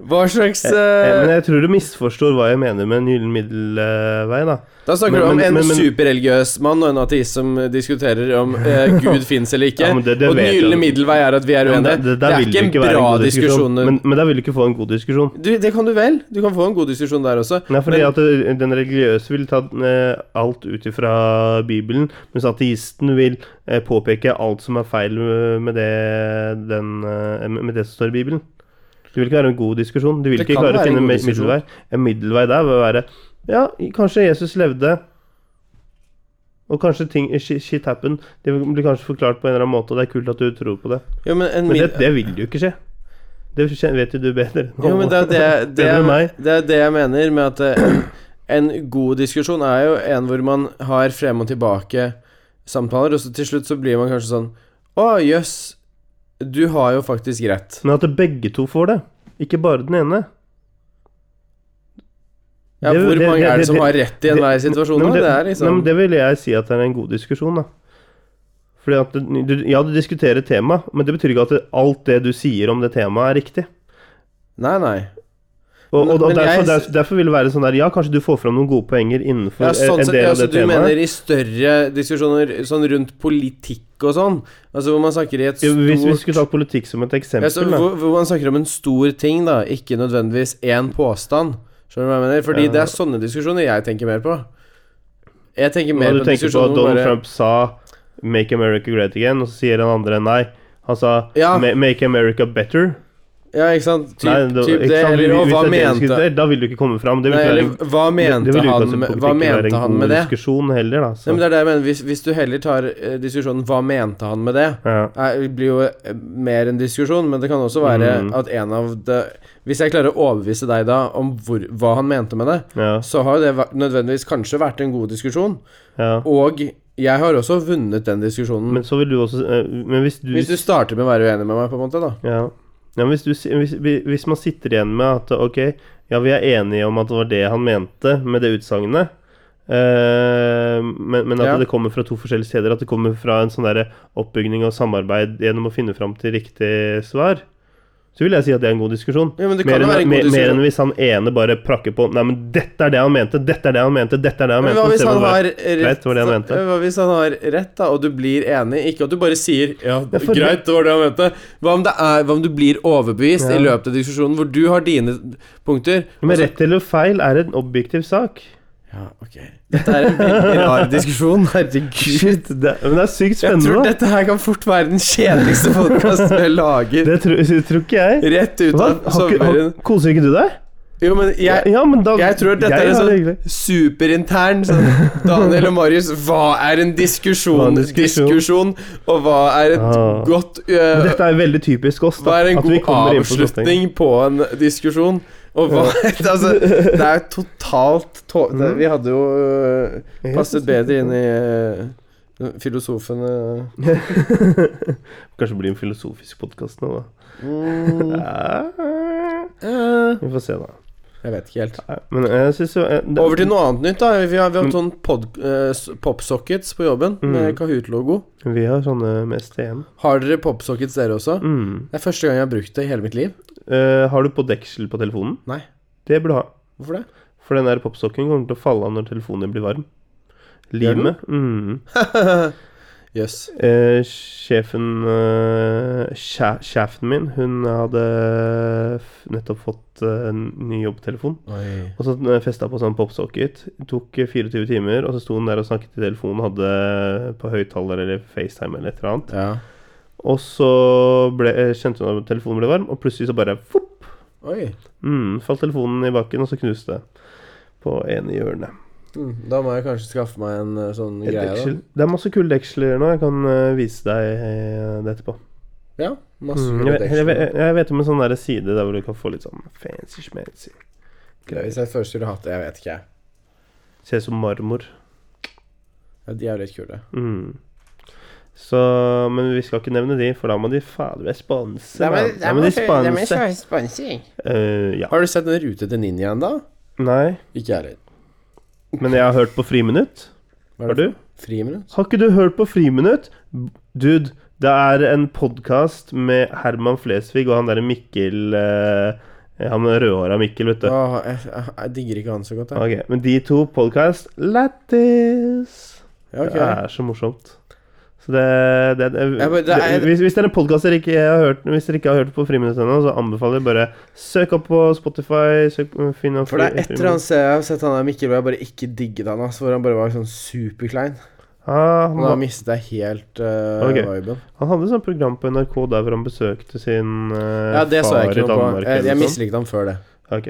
[SPEAKER 2] Hva slags
[SPEAKER 1] eh,
[SPEAKER 2] eh,
[SPEAKER 1] men jeg tror du misforstår hva jeg mener med en gyllen middelvei, da.
[SPEAKER 2] Da snakker
[SPEAKER 1] men-
[SPEAKER 2] du om
[SPEAKER 1] men-
[SPEAKER 2] en
[SPEAKER 1] men- men-
[SPEAKER 2] superreligiøs mann og en ateist som diskuterer om eh, Gud fins eller ikke.
[SPEAKER 1] Ja, men det- det
[SPEAKER 2] og den
[SPEAKER 1] vet jeg.
[SPEAKER 2] gylne middelvei er at vi er
[SPEAKER 1] Ja, men
[SPEAKER 2] uenige.
[SPEAKER 1] det, det,
[SPEAKER 2] det
[SPEAKER 1] der
[SPEAKER 2] er
[SPEAKER 1] vil det
[SPEAKER 2] ikke en
[SPEAKER 1] ikke være
[SPEAKER 2] bra
[SPEAKER 1] en god diskusjon.
[SPEAKER 2] diskusjon.
[SPEAKER 1] Men, men der vil du ikke få en god diskusjon.
[SPEAKER 2] Du, det kan du vel. Du kan få en god diskusjon der også.
[SPEAKER 1] Nei, fordi
[SPEAKER 2] Men-
[SPEAKER 1] at eh, den religiøse vil ta eh, alt ut ifra Bibelen, mens ateisten vil eh, påpeke alt som er feil eh, med det, den, eh, med det som står i Bibelen. Det vil ikke være en god diskusjon. Du vil
[SPEAKER 2] Det
[SPEAKER 1] ikke
[SPEAKER 2] kan
[SPEAKER 1] klare å
[SPEAKER 2] være en
[SPEAKER 1] finne
[SPEAKER 2] god
[SPEAKER 1] mi-
[SPEAKER 2] diskusjon.
[SPEAKER 1] middelvei. En middelvei der vil være Ja, kanskje Jesus levde, og kanskje ting, eh, shit, shit happened. Det blir kanskje forklart på en eller annen måte, og det er kult at du tror på det.
[SPEAKER 2] jo, men en
[SPEAKER 1] Men det,
[SPEAKER 2] mid-
[SPEAKER 1] det vil jo ikke skje. Det skje- vet jo du bedre. enn
[SPEAKER 2] Jo, men det er det, det,
[SPEAKER 1] Bedre enn
[SPEAKER 2] er,
[SPEAKER 1] meg.
[SPEAKER 2] det er det jeg mener med at eh, en, en god diskusjon er jo en hvor man har frem og tilbake samtaler, og så til slutt så blir man kanskje sånn Å, jøss, du har jo faktisk rett.
[SPEAKER 1] Men at begge to får det, ikke bare den ene.
[SPEAKER 2] Ja,
[SPEAKER 1] Det-
[SPEAKER 2] hvor
[SPEAKER 1] det-
[SPEAKER 2] mange
[SPEAKER 1] det-
[SPEAKER 2] er det
[SPEAKER 1] det-
[SPEAKER 2] som har rett i
[SPEAKER 1] det-
[SPEAKER 2] enhver
[SPEAKER 1] Nei,
[SPEAKER 2] situasjon?
[SPEAKER 1] men
[SPEAKER 2] da? Det
[SPEAKER 1] nei,
[SPEAKER 2] er liksom
[SPEAKER 1] men det vil jeg si at det er en god diskusjon, da. Fordi at det- du, Ja, du diskuterer tema, men det betyr ikke at det, alt det du sier om det temaet, er riktig.
[SPEAKER 2] Nei, nei.
[SPEAKER 1] Og, og,
[SPEAKER 2] Men-
[SPEAKER 1] og
[SPEAKER 2] men
[SPEAKER 1] derfor,
[SPEAKER 2] jeg-
[SPEAKER 1] derfor, derfor vil det være sånn der Ja, kanskje du får fram noen gode poenger innenfor
[SPEAKER 2] Ja, sånn
[SPEAKER 1] en
[SPEAKER 2] sett,
[SPEAKER 1] del
[SPEAKER 2] ja,
[SPEAKER 1] av
[SPEAKER 2] så
[SPEAKER 1] det
[SPEAKER 2] du
[SPEAKER 1] temaet.
[SPEAKER 2] mener i større diskusjoner sånn rundt politikk og sånn? Altså hvor man snakker i et
[SPEAKER 1] Jo, Hvis vi
[SPEAKER 2] stort
[SPEAKER 1] skulle ta politikk som et eksempel,
[SPEAKER 2] Ja, så
[SPEAKER 1] da.
[SPEAKER 2] hvor, hvor man snakker om en stor ting, da, ikke nødvendigvis én påstand. Skjønner du hva jeg mener? Fordi
[SPEAKER 1] Ja.
[SPEAKER 2] det er sånne diskusjoner jeg tenker mer på. Jeg tenker mer
[SPEAKER 1] Og du
[SPEAKER 2] på
[SPEAKER 1] tenker på at
[SPEAKER 2] diskusjoner hvor
[SPEAKER 1] Donald
[SPEAKER 2] bare
[SPEAKER 1] Trump sa 'Make America Great Again', og så sier den andre nei. Han sa
[SPEAKER 2] Ja.
[SPEAKER 1] «Ma- 'Make America Better'.
[SPEAKER 2] Ja, ikke sant? Typ,
[SPEAKER 1] Nei, det,
[SPEAKER 2] typ
[SPEAKER 1] ikke
[SPEAKER 2] det,
[SPEAKER 1] sant?
[SPEAKER 2] eller og
[SPEAKER 1] Hvis
[SPEAKER 2] hva
[SPEAKER 1] det er det du
[SPEAKER 2] mente
[SPEAKER 1] diskuterer, Da vil du ikke komme fram. Det vil
[SPEAKER 2] Nei,
[SPEAKER 1] ikke være
[SPEAKER 2] eller
[SPEAKER 1] en-
[SPEAKER 2] hva
[SPEAKER 1] det, det
[SPEAKER 2] mente
[SPEAKER 1] vil jo ikke
[SPEAKER 2] han
[SPEAKER 1] at
[SPEAKER 2] med,
[SPEAKER 1] politikk
[SPEAKER 2] hva
[SPEAKER 1] vil være
[SPEAKER 2] mente
[SPEAKER 1] en
[SPEAKER 2] han
[SPEAKER 1] god
[SPEAKER 2] med det?
[SPEAKER 1] diskusjon heller, da.
[SPEAKER 2] Nei,
[SPEAKER 1] Så.
[SPEAKER 2] men det er det jeg mener. Hvis, hvis du heller tar eh, diskusjonen 'hva mente han med det',
[SPEAKER 1] ja.
[SPEAKER 2] er, blir jo eh, mer en diskusjon, men det kan også være
[SPEAKER 1] Mm.
[SPEAKER 2] at en av det Hvis jeg klarer å overbevise deg da om hvor, hva han mente med det,
[SPEAKER 1] Ja,
[SPEAKER 2] så har jo det vært- nødvendigvis kanskje vært en god diskusjon.
[SPEAKER 1] ja.
[SPEAKER 2] Og jeg har også vunnet den diskusjonen.
[SPEAKER 1] Men så vil du også eh, Men hvis du,
[SPEAKER 2] hvis du starter med å være uenig med meg, på en måte, da.
[SPEAKER 1] ja. ja, men hvis, du si- hvis, hvis man sitter igjen med at ok, ja, vi er enige om at det var det han mente med det utsagnet, eh, men, men at
[SPEAKER 2] Ja.
[SPEAKER 1] det kommer fra to forskjellige steder, at det kommer fra en sånn derre oppbygning og samarbeid gjennom å finne fram til riktig svar, så vil jeg si at det er en god diskusjon.
[SPEAKER 2] Ja, men det kan
[SPEAKER 1] Mer
[SPEAKER 2] jo
[SPEAKER 1] enn,
[SPEAKER 2] være en
[SPEAKER 1] mer,
[SPEAKER 2] god
[SPEAKER 1] mer enn
[SPEAKER 2] diskusjon.
[SPEAKER 1] hvis han ene bare prakker på Nei, men dette er det han mente, dette er det han mente, dette er det han
[SPEAKER 2] Men
[SPEAKER 1] mente.
[SPEAKER 2] hva
[SPEAKER 1] så
[SPEAKER 2] hvis
[SPEAKER 1] ser
[SPEAKER 2] han
[SPEAKER 1] man bare-
[SPEAKER 2] har rett,
[SPEAKER 1] det var det jeg mente.
[SPEAKER 2] hva hvis han har rett da, og du blir enig? Ikke at du bare sier 'ja,
[SPEAKER 1] for-
[SPEAKER 2] greit, det var det han mente'. Hva om, det er, hva om du blir overbevist
[SPEAKER 1] Ja.
[SPEAKER 2] i løpet av diskusjonen, hvor du har dine punkter?
[SPEAKER 1] Men
[SPEAKER 2] og så-
[SPEAKER 1] rett eller feil er en objektiv sak.
[SPEAKER 2] Ja, ok. Dette er en veldig rar diskusjon. Herregud.
[SPEAKER 1] Shit, det, men det er sykt
[SPEAKER 2] Jeg tror
[SPEAKER 1] spennende. da.
[SPEAKER 2] dette her kan fort være den kjedeligste podkasten jeg lager.
[SPEAKER 1] Det tror, tror ikke jeg.
[SPEAKER 2] Rett ut
[SPEAKER 1] Hva?
[SPEAKER 2] av
[SPEAKER 1] Har ikke- har-
[SPEAKER 2] sommeren.
[SPEAKER 1] Koser ikke du deg?
[SPEAKER 2] Jo, men jeg,
[SPEAKER 1] ja, men da,
[SPEAKER 2] jeg tror dette er en
[SPEAKER 1] har
[SPEAKER 2] sånn-
[SPEAKER 1] det hyggelig.
[SPEAKER 2] superintern. Sånn, Daniel og Marius, hva er en diskusjon?
[SPEAKER 1] Hva er en diskusjon?
[SPEAKER 2] diskusjon? og hva er et
[SPEAKER 1] Ah.
[SPEAKER 2] godt øh,
[SPEAKER 1] Men Dette er veldig typisk oss. Da,
[SPEAKER 2] Hva er en
[SPEAKER 1] at vi
[SPEAKER 2] god
[SPEAKER 1] kommer inn på sånne ting.
[SPEAKER 2] avslutning på en diskusjon? Og hva Altså, det er jo totalt tå- det,
[SPEAKER 1] Mm.
[SPEAKER 2] Vi hadde jo øh, passet bedre inn i øh, filosofen øh.
[SPEAKER 1] Kanskje det blir en filosofisk podkast nå, da.
[SPEAKER 2] mm.
[SPEAKER 1] Ja, Vi får se, da.
[SPEAKER 2] Jeg vet ikke helt.
[SPEAKER 1] Nei, Men jeg syns jo eh, det-
[SPEAKER 2] Over til noe annet nytt, da. Vi har, vi har sånn pod- eh, s- popsockets på jobben
[SPEAKER 1] Mm.
[SPEAKER 2] med Kahoot-logo.
[SPEAKER 1] Vi har sånne med STM.
[SPEAKER 2] Har dere popsockets, dere også?
[SPEAKER 1] Mm.
[SPEAKER 2] Det er første gang jeg har brukt det i hele mitt liv.
[SPEAKER 1] Eh, har du på deksel på telefonen?
[SPEAKER 2] Nei.
[SPEAKER 1] Det burde du ha.
[SPEAKER 2] Hvorfor det?
[SPEAKER 1] For den der popsocken kommer til å falle av når telefonen din blir varm.
[SPEAKER 2] Gjør den?
[SPEAKER 1] Limet. Mm.
[SPEAKER 2] Jøss.
[SPEAKER 1] Eh, sjefen eh, sja- Sjefen min, hun hadde f- nettopp fått eh, en ny jobbtelefon.
[SPEAKER 2] Oi.
[SPEAKER 1] Og så festa på sånn popsocket. Det tok eh, 24 timer, og så sto hun der og snakket i telefonen, hadde på høyttaler eller FaceTime eller et eller annet.
[SPEAKER 2] Ja.
[SPEAKER 1] Og så ble, eh, kjente hun at telefonen ble varm, og plutselig så bare fopp,
[SPEAKER 2] Oi.
[SPEAKER 1] mm, falt telefonen i bakken, og så knuste det på ene hjørnet.
[SPEAKER 2] Mm, Da må jeg kanskje skaffe meg en eh, sånn
[SPEAKER 1] Et
[SPEAKER 2] greie,
[SPEAKER 1] deksel. Det er masse kule deksler nå. Jeg kan eh, vise deg eh, det etterpå.
[SPEAKER 2] da. Ja. Masse
[SPEAKER 1] Mm,
[SPEAKER 2] kule
[SPEAKER 1] jeg, jeg,
[SPEAKER 2] deksler.
[SPEAKER 1] jeg, jeg vet om en sånn der side der hvor du kan få litt sånn fancy schmancy.
[SPEAKER 2] Ja, Hvis jeg først skulle hatt det, jeg vet ikke, jeg.
[SPEAKER 1] Ser ut som marmor.
[SPEAKER 2] Ja, de er jo litt kule.
[SPEAKER 1] Mm. Så, men vi skal ikke nevne de, for da må de fader meg sponse. mann. Da må de sponse. Eh, ja.
[SPEAKER 2] Har du sett den rute til ninjaen, da?
[SPEAKER 1] Nei,
[SPEAKER 2] Ikke jeg heller.
[SPEAKER 1] men jeg har hørt på Friminutt.
[SPEAKER 2] Hva er
[SPEAKER 1] Har
[SPEAKER 2] det
[SPEAKER 1] du?
[SPEAKER 2] for? Friminutt?
[SPEAKER 1] Har ikke du hørt på Friminutt? Dude, det er en podkast med Herman Flesvig og han derre Mikkel eh, Han rødhåra Mikkel, vet du.
[SPEAKER 2] Åh, jeg, jeg, jeg digger ikke han så godt, jeg.
[SPEAKER 1] Ok, Men de to podkast Lættis!
[SPEAKER 2] Ja, ok.
[SPEAKER 1] Det er så morsomt. Så det, det, det,
[SPEAKER 2] Ja, men det er-
[SPEAKER 1] Hvis, hvis dere podkaster ikke har hørt Hvis dere ikke har hørt på Friminutt ennå, så anbefaler jeg bare søk opp på Spotify. Søk, finn opp
[SPEAKER 2] For det er et
[SPEAKER 1] Friminutt.
[SPEAKER 2] eller annet sted jeg har sett han der Mikkel, hvor jeg bare ikke digget han, ass. Hvor han bare var sånn superklein.
[SPEAKER 1] ah, han,
[SPEAKER 2] Han har
[SPEAKER 1] var-
[SPEAKER 2] mistet deg helt
[SPEAKER 1] Ok.
[SPEAKER 2] uh, viben.
[SPEAKER 1] han hadde sånn program på NRK der hvor han besøkte sin eh,
[SPEAKER 2] Ja, det så
[SPEAKER 1] far
[SPEAKER 2] jeg
[SPEAKER 1] i
[SPEAKER 2] ikke noe på.
[SPEAKER 1] Danmark.
[SPEAKER 2] Jeg,
[SPEAKER 1] eller
[SPEAKER 2] jeg
[SPEAKER 1] sånn.
[SPEAKER 2] mislikte han før det.
[SPEAKER 1] Ok.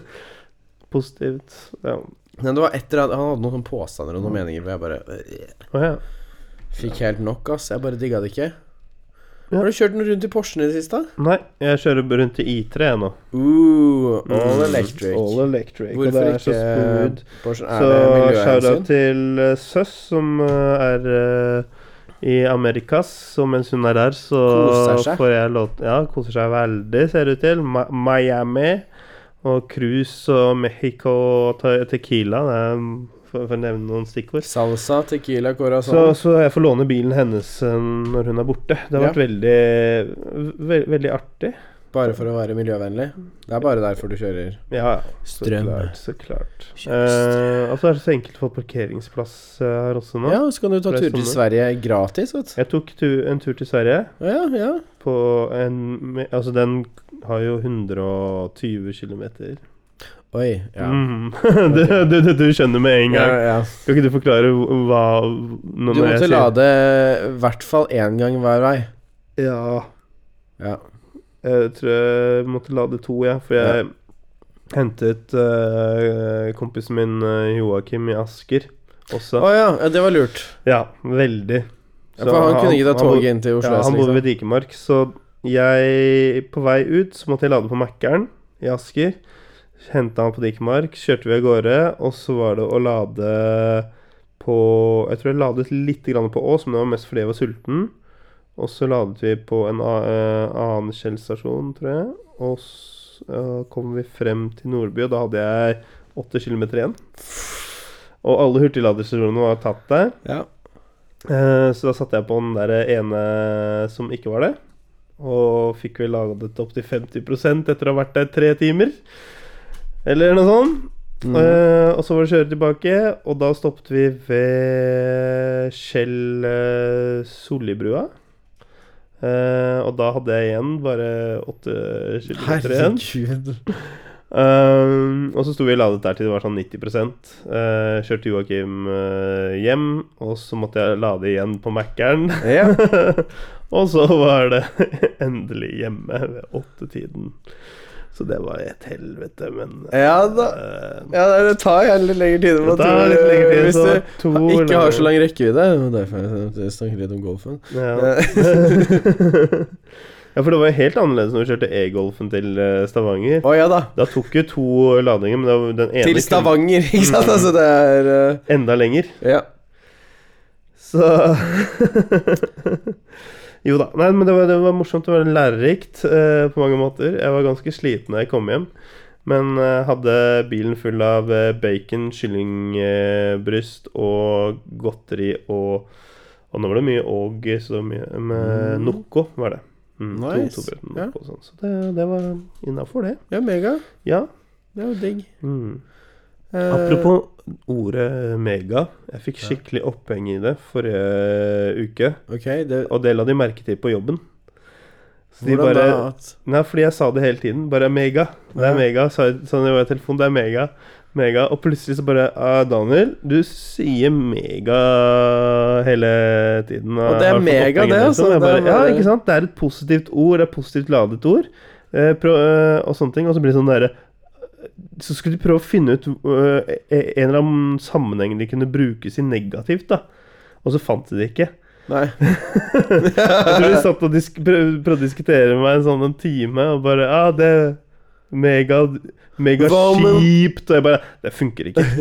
[SPEAKER 1] Positivt. Ja.
[SPEAKER 2] Men det var etter at han hadde noen sånne påstander og noen meninger hvor jeg bare øh,
[SPEAKER 1] Å ja.
[SPEAKER 2] fikk helt nok, ass. Jeg bare digga det ikke.
[SPEAKER 1] Ja.
[SPEAKER 2] Har du kjørt noe rundt i Porschen i det siste?
[SPEAKER 1] Nei, jeg kjører rundt i I3 nå.
[SPEAKER 2] Ooh, all electric.
[SPEAKER 1] Uh, mm. All electric. og
[SPEAKER 2] Hvorfor
[SPEAKER 1] det er
[SPEAKER 2] ikke
[SPEAKER 1] så smooth.
[SPEAKER 2] Porschen? Er det
[SPEAKER 1] Så shout-out
[SPEAKER 2] miljøhensyn?
[SPEAKER 1] til eh, Søs, som eh, er eh, i Amerikas. Så mens hun er her, så
[SPEAKER 2] Koser seg.
[SPEAKER 1] får jeg lov Ja, koser seg veldig, ser det ut til. Ma Miami og cruise og Mexico og te Tequila, det er, mm, for, for å nevne noen stikkord.
[SPEAKER 2] Salsa, tequila, sånn. corazon.
[SPEAKER 1] Så, så jeg får låne bilen hennes eh, når hun er borte. Det har vært veldig, ve veldig artig.
[SPEAKER 2] Bare for å være miljøvennlig. Det er bare derfor du kjører.
[SPEAKER 1] Ja, ja. Så
[SPEAKER 2] Strøm.
[SPEAKER 1] klart. Så klart.
[SPEAKER 2] Kjøp strøm.
[SPEAKER 1] Eh, og så er det så enkelt å få parkeringsplass eh, her også nå.
[SPEAKER 2] Ja, så kan du ta
[SPEAKER 1] Det er
[SPEAKER 2] turer til
[SPEAKER 1] sommer.
[SPEAKER 2] Sverige gratis, vet du.
[SPEAKER 1] Jeg tok tu en tur til Sverige
[SPEAKER 2] Ja, ja.
[SPEAKER 1] på en me- Altså, den har jo 120 km.
[SPEAKER 2] Oi. Ja.
[SPEAKER 1] Mm. du, du, du, du skjønner med en
[SPEAKER 2] ja,
[SPEAKER 1] gang.
[SPEAKER 2] ja.
[SPEAKER 1] Kan ikke du forklare hv- hva
[SPEAKER 2] Du
[SPEAKER 1] når
[SPEAKER 2] måtte
[SPEAKER 1] jeg sier
[SPEAKER 2] lade i hvert fall én gang hver vei.
[SPEAKER 1] Ja.
[SPEAKER 2] Ja.
[SPEAKER 1] Jeg tror jeg måtte lade to, jeg. For jeg hentet eh, kompisen min eh, Joakim i Asker
[SPEAKER 2] Å
[SPEAKER 1] også.
[SPEAKER 2] ja, ja, det var lurt.
[SPEAKER 1] Ja, veldig.
[SPEAKER 2] Ja, for han, kunne ikke ta
[SPEAKER 1] han bodde-
[SPEAKER 2] toget inn til Oslo
[SPEAKER 1] Ja,
[SPEAKER 2] S,
[SPEAKER 1] han bor
[SPEAKER 2] liksom.
[SPEAKER 1] ved Dikemark, så jeg På vei ut så måtte jeg lade på Mækkern i Asker. Henta han på Dikemark, kjørte vi av gårde, og så var det å lade på Jeg tror jeg ladet litt grann på Ås, men det var mest fordi jeg var sulten. Og så ladet vi på en a- eh, annen Kjell stasjon, tror jeg. Og så kom vi frem til Nordby, og da hadde jeg åtte kilometer igjen. Og alle hurtigladerstasjonene var tatt der.
[SPEAKER 2] Ja.
[SPEAKER 1] Eh, Så da satte jeg på den der ene som ikke var det. Og fikk vel laget opp til 50 etter å ha vært der tre timer. Eller noe sånt.
[SPEAKER 2] Mm.
[SPEAKER 1] Eh, og så var det kjøre tilbake, og da stoppet vi ved Skjell eh, Sollibrua. Eh, og da hadde jeg igjen bare åtte kilometer igjen.
[SPEAKER 2] Herregud.
[SPEAKER 1] Um, og så sto vi ladet der til det var sånn 90 uh, Kjørte Joakim eh, hjem, og så måtte jeg lade igjen på Mækkern.
[SPEAKER 2] Ja.
[SPEAKER 1] og så var det endelig hjemme ved åttetiden. Så det var et helvete, men
[SPEAKER 2] ja da.
[SPEAKER 1] eh,
[SPEAKER 2] Ja, nei, det tar gjerne litt lengre tid. enn man
[SPEAKER 1] Det tar
[SPEAKER 2] tror. eh,
[SPEAKER 1] litt lengre tid,
[SPEAKER 2] Hvis
[SPEAKER 1] så
[SPEAKER 2] du
[SPEAKER 1] to
[SPEAKER 2] ikke har
[SPEAKER 1] eller-
[SPEAKER 2] så lang rekkevidde. det var Derfor jeg snakket litt om golfen.
[SPEAKER 1] ja. ja, for det var jo helt annerledes når vi kjørte e-golfen til eh, Stavanger.
[SPEAKER 2] Å ja da.
[SPEAKER 1] Da tok jo to ladinger, men det var den ene
[SPEAKER 2] Til
[SPEAKER 1] kunne
[SPEAKER 2] Stavanger, ikke sant? Altså, det er
[SPEAKER 1] enda lenger.
[SPEAKER 2] eh, Ja.
[SPEAKER 1] Så Jo da. Nei, men det var, det var morsomt. Det var lærerikt eh, på mange måter. Jeg var ganske sliten da jeg kom hjem, men eh, hadde bilen full av eh, bacon, kyllingbryst og godteri og Og nå var det mye og, så det var mye med
[SPEAKER 2] Mm.
[SPEAKER 1] Noco, var det. Mm,
[SPEAKER 2] Nice.
[SPEAKER 1] To, to brød med
[SPEAKER 2] Ja.
[SPEAKER 1] Nocco og sånn. Så det, det var innafor, det.
[SPEAKER 2] Ja, mega.
[SPEAKER 1] Ja.
[SPEAKER 2] Det er jo digg.
[SPEAKER 1] Mm.
[SPEAKER 2] Eh,
[SPEAKER 1] Apropos ordet mega. Jeg fikk skikkelig oppheng i det forrige eh, uke.
[SPEAKER 2] Ok, det
[SPEAKER 1] Og det la de merke til på jobben. Så de
[SPEAKER 2] Hvordan
[SPEAKER 1] bare
[SPEAKER 2] da? At,
[SPEAKER 1] Nei, fordi jeg sa det hele tiden. Bare mega. Det
[SPEAKER 2] Ja.
[SPEAKER 1] er mega. Sa jeg sånn over telefonen. Det er mega. Mega. Og plutselig så bare ah, Daniel, du sier mega hele tiden.
[SPEAKER 2] Og det er
[SPEAKER 1] Har fått
[SPEAKER 2] mega,
[SPEAKER 1] opphengen
[SPEAKER 2] det,
[SPEAKER 1] i
[SPEAKER 2] altså.
[SPEAKER 1] Jeg
[SPEAKER 2] Det er
[SPEAKER 1] Bare, ja,
[SPEAKER 2] bare-
[SPEAKER 1] ikke sant. Det er et positivt ord. Det er et positivt ladet ord. Eh, prøv, eh, og sånne ting. Og så blir det sånn derre Så skulle de prøve å finne ut eh, en eller annen sammenheng de kunne brukes i negativt, da. Og så fant de det ikke.
[SPEAKER 2] nei.
[SPEAKER 1] Jeg tror de satt og disk prøv- prøvde å diskutere med meg en sånn en time, og bare Ja, ah, det er Mega Mega
[SPEAKER 2] Hva om-
[SPEAKER 1] kjipt. Og jeg bare Det funker ikke.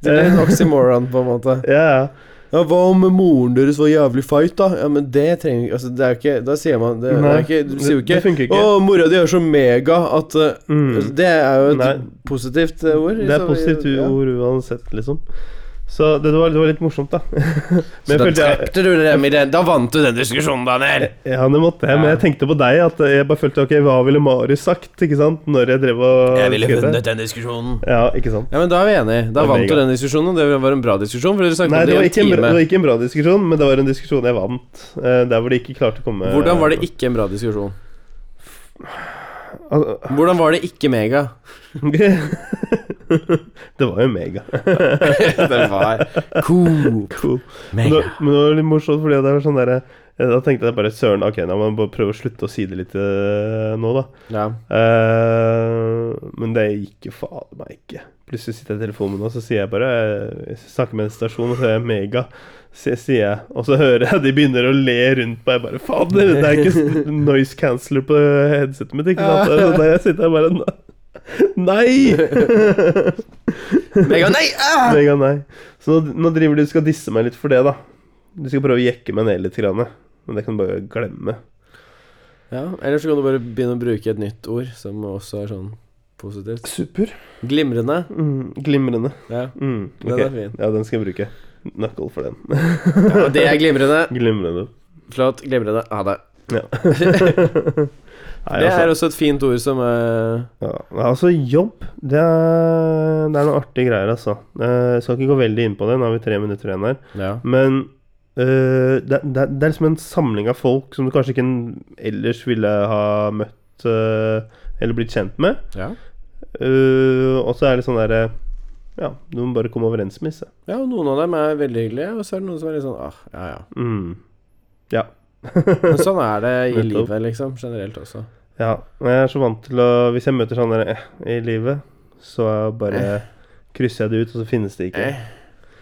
[SPEAKER 1] Eh,
[SPEAKER 2] Det sånn- blir en oxymoron, på en måte.
[SPEAKER 1] Ja, ja.
[SPEAKER 2] Ja, Hva om moren deres var jævlig feit, da? Ja, men det trenger vi altså, Det er jo ikke Da sier man det, det
[SPEAKER 1] Nei,
[SPEAKER 2] er ikke, Du sier jo
[SPEAKER 1] det
[SPEAKER 2] ikke
[SPEAKER 1] funker ikke.
[SPEAKER 2] 'Å, mora di er så mega at eh,
[SPEAKER 1] Mm.
[SPEAKER 2] Det er jo et
[SPEAKER 1] Nei.
[SPEAKER 2] positivt eh, ord.
[SPEAKER 1] Det er
[SPEAKER 2] så-
[SPEAKER 1] positivt
[SPEAKER 2] ja.
[SPEAKER 1] ord uansett, liksom. Så det var, det var litt morsomt, da. Men
[SPEAKER 2] Så
[SPEAKER 1] jeg
[SPEAKER 2] da
[SPEAKER 1] følte jeg
[SPEAKER 2] drepte du dem i den Da vant du den diskusjonen, Daniel!
[SPEAKER 1] ja, det måtte jeg, men jeg tenkte på deg. At jeg bare følte Ok, hva ville Marius sagt? Ikke sant? Når jeg drev og skrev det.
[SPEAKER 2] den diskusjonen.
[SPEAKER 1] Ja, ikke sant.
[SPEAKER 2] Ja, men Da er vi enige.
[SPEAKER 1] Det
[SPEAKER 2] Da
[SPEAKER 1] er
[SPEAKER 2] vant
[SPEAKER 1] mega.
[SPEAKER 2] du den diskusjonen, og det var en bra diskusjon. For dere snakket
[SPEAKER 1] Nei,
[SPEAKER 2] om
[SPEAKER 1] det var,
[SPEAKER 2] det
[SPEAKER 1] ikke
[SPEAKER 2] i
[SPEAKER 1] en
[SPEAKER 2] en
[SPEAKER 1] bra,
[SPEAKER 2] time.
[SPEAKER 1] det var ikke en bra diskusjon, men det var en diskusjon jeg vant. eh, Der hvor de ikke klarte å komme
[SPEAKER 2] Hvordan var det ikke en bra diskusjon?
[SPEAKER 1] Al-
[SPEAKER 2] Hvordan var det ikke mega?
[SPEAKER 1] det var jo mega.
[SPEAKER 2] det var Coop.
[SPEAKER 1] Cool. Men det men det var litt morsomt, fordi det var sånn derre eh, Da tenkte jeg bare søren, ok, da må jeg bare prøve å slutte å si det litt eh, nå, da.
[SPEAKER 2] Ja.
[SPEAKER 1] Eh, men det gikk jo fader meg ikke. Plutselig sitter jeg i telefonen min, og så sier jeg bare Jeg snakker med en stasjon, og så er jeg mega. Så jeg sier jeg, og så hører jeg de begynner å le rundt meg. Jeg bare fader, det er ikke s- noise canceller på headsetet mitt, ikke sant? Og da jeg sitter jeg bare Nei!
[SPEAKER 2] Mega, nei! Ah!
[SPEAKER 1] Mega nei. Så nå, nå driver du og skal disse meg litt for det, da. Du skal prøve å jekke meg ned litt, grann, men det kan du bare glemme.
[SPEAKER 2] Ja, Eller så kan du bare begynne å bruke et nytt ord som også er sånn positivt.
[SPEAKER 1] Super.
[SPEAKER 2] Glimrende.
[SPEAKER 1] Mm, glimrende.
[SPEAKER 2] Ja,
[SPEAKER 1] Mm,
[SPEAKER 2] den
[SPEAKER 1] ok.
[SPEAKER 2] er fin.
[SPEAKER 1] Ja, den skal jeg bruke. Knuckle for den.
[SPEAKER 2] Ja, det er glimrende.
[SPEAKER 1] Glimrende.
[SPEAKER 2] Flott. Glimrende. Ha det.
[SPEAKER 1] Ja. Nei,
[SPEAKER 2] Det er
[SPEAKER 1] altså,
[SPEAKER 2] også et fint ord som eh,
[SPEAKER 1] ja. Nei, altså, jobb det er, det er noen artige greier, altså. Eh, Jeg skal ikke gå veldig inn på det, nå har vi tre minutter igjen her.
[SPEAKER 2] Ja.
[SPEAKER 1] Men øh, det, det, det er liksom en samling av folk som du kanskje ikke ellers ville ha møtt øh, eller blitt kjent med.
[SPEAKER 2] ja.
[SPEAKER 1] Øh, og så er det sånn derre Ja, du må bare komme overens med disse.
[SPEAKER 2] Ja, og noen av dem er veldig hyggelige, og så er det noen som er litt sånn ah, ja ja.
[SPEAKER 1] Mm. Ja.
[SPEAKER 2] Men sånn er det i
[SPEAKER 1] Nettopp.
[SPEAKER 2] livet, liksom. Generelt også.
[SPEAKER 1] ja. Men Jeg er så vant til å Hvis jeg møter sånne eh, i livet, så er jeg bare krysser jeg det ut, og så finnes det ikke.
[SPEAKER 2] Eh.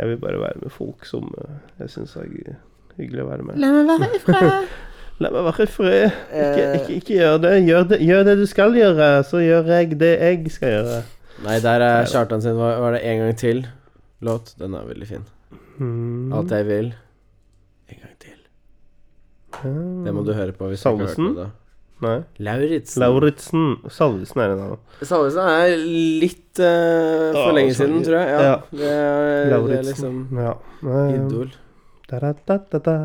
[SPEAKER 1] Jeg vil bare være med folk som øh, jeg syns er hy- hyggelig å være med.
[SPEAKER 2] La meg være i fred.
[SPEAKER 1] La meg være i fred. Ikke,
[SPEAKER 2] Eh.
[SPEAKER 1] ikke, ikke gjør det. Gjør, det. gjør det du skal gjøre, så gjør jeg det jeg skal gjøre.
[SPEAKER 2] Nei, der er Kjartan sin Hva var det en gang til? Låt. Den er veldig fin.
[SPEAKER 1] Mm.
[SPEAKER 2] Alt jeg vil. En gang til. Det må du høre på hvis du ikke har hørt
[SPEAKER 1] Salvesen?
[SPEAKER 2] det.
[SPEAKER 1] Hmm. Nei.
[SPEAKER 2] Lauritzen.
[SPEAKER 1] Lauritzen. Salvesen er en annen.
[SPEAKER 2] Salvesen er litt eh, for
[SPEAKER 1] Å,
[SPEAKER 2] lenge
[SPEAKER 1] sorry.
[SPEAKER 2] siden, tror jeg. Ja.
[SPEAKER 1] Ja.
[SPEAKER 2] Det, er, det er liksom
[SPEAKER 1] Lauritzen. Ja. eh, Nei,
[SPEAKER 2] idol.
[SPEAKER 1] da, da, da, da, da.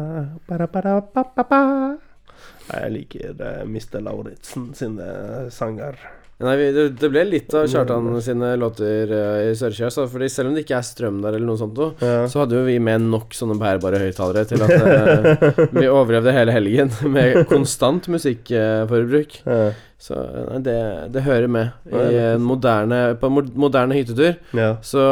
[SPEAKER 1] Ba, da, ba, da, ba, ba, ba. Nei, jeg liker eh, Mr. Lauritzen sine sanger.
[SPEAKER 2] Nei, vi- det, det ble litt
[SPEAKER 1] Mm.
[SPEAKER 2] av Kjartan sine låter eh, i Sørkjøs, da, fordi selv om det ikke er strøm der eller noe sånt noe,
[SPEAKER 1] Ja.
[SPEAKER 2] så hadde jo vi med nok sånne bærbare høyttalere til at eh, vi overlevde hele helgen med konstant musikkforbruk.
[SPEAKER 1] Ja.
[SPEAKER 2] Så eh, nei, det, det hører med.
[SPEAKER 1] Ja,
[SPEAKER 2] I en moderne, på en mod- moderne hyttetur
[SPEAKER 1] Ja.
[SPEAKER 2] så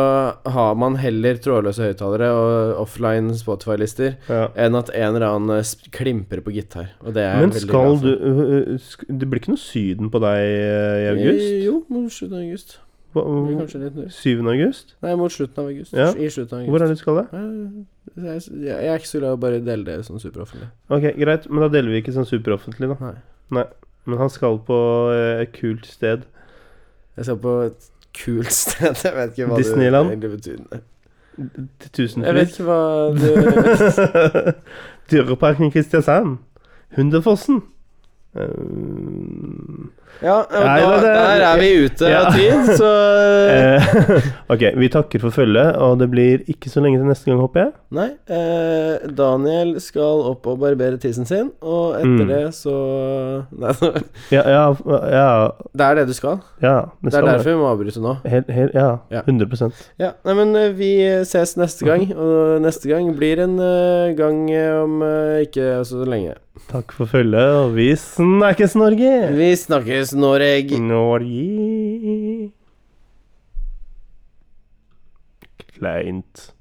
[SPEAKER 2] har man heller trådløse høyttalere og offline Spotify-lister
[SPEAKER 1] ja.
[SPEAKER 2] enn at en eller annen eh, sp- klimper på gitar. Og det er jeg
[SPEAKER 1] Men
[SPEAKER 2] veldig altså.
[SPEAKER 1] skal
[SPEAKER 2] glad
[SPEAKER 1] du
[SPEAKER 2] for.
[SPEAKER 1] øh, øh, sk- Det blir ikke noe Syden på deg eh, i august?
[SPEAKER 2] Jo, mot slutten av august.
[SPEAKER 1] Hva,
[SPEAKER 2] Det blir kanskje litt nytt.
[SPEAKER 1] 7. august?
[SPEAKER 2] Nei, mot slutten av august.
[SPEAKER 1] Ja.
[SPEAKER 2] I slutten av august.
[SPEAKER 1] Hvor er det du skal, da?
[SPEAKER 2] Nei, Jeg, jeg, jeg er ikke så glad i å bare dele det sånn superoffentlig.
[SPEAKER 1] Ok, greit, men da deler vi ikke sånn superoffentlig, da.
[SPEAKER 2] Nei.
[SPEAKER 1] Men han skal på eh, et kult sted.
[SPEAKER 2] Jeg skal på et kult sted. Jeg vet ikke hva
[SPEAKER 1] Disneyland?
[SPEAKER 2] det egentlig betyr. Jeg vet
[SPEAKER 1] Tusenfryd.
[SPEAKER 2] ikke hva du
[SPEAKER 1] Dyreparken Kristiansand. Hundefossen. Eh,
[SPEAKER 2] Ja, og
[SPEAKER 1] Nei,
[SPEAKER 2] da,
[SPEAKER 1] det- det-
[SPEAKER 2] der er vi ute
[SPEAKER 1] Ja.
[SPEAKER 2] av tid, så
[SPEAKER 1] Eh, ok, vi takker for følget, og det blir ikke så lenge til neste gang, håper jeg.
[SPEAKER 2] Nei. Eh, Daniel skal opp og barbere tissen sin, og
[SPEAKER 1] Mm.
[SPEAKER 2] etter det så Nei,
[SPEAKER 1] Ja, ja, ja,
[SPEAKER 2] det er det du skal.
[SPEAKER 1] ja
[SPEAKER 2] Det er derfor vi må avbryte nå.
[SPEAKER 1] Helt, helt,
[SPEAKER 2] Ja.
[SPEAKER 1] ja, 100
[SPEAKER 2] Ja, nei, men eh, vi ses neste gang, og neste gang blir en eh, gang eh, om eh, ikke så lenge.
[SPEAKER 1] Takk for følget, og vi snakkes, Norge!
[SPEAKER 2] Vi snakkes, Noreg.
[SPEAKER 1] Norge Kleint.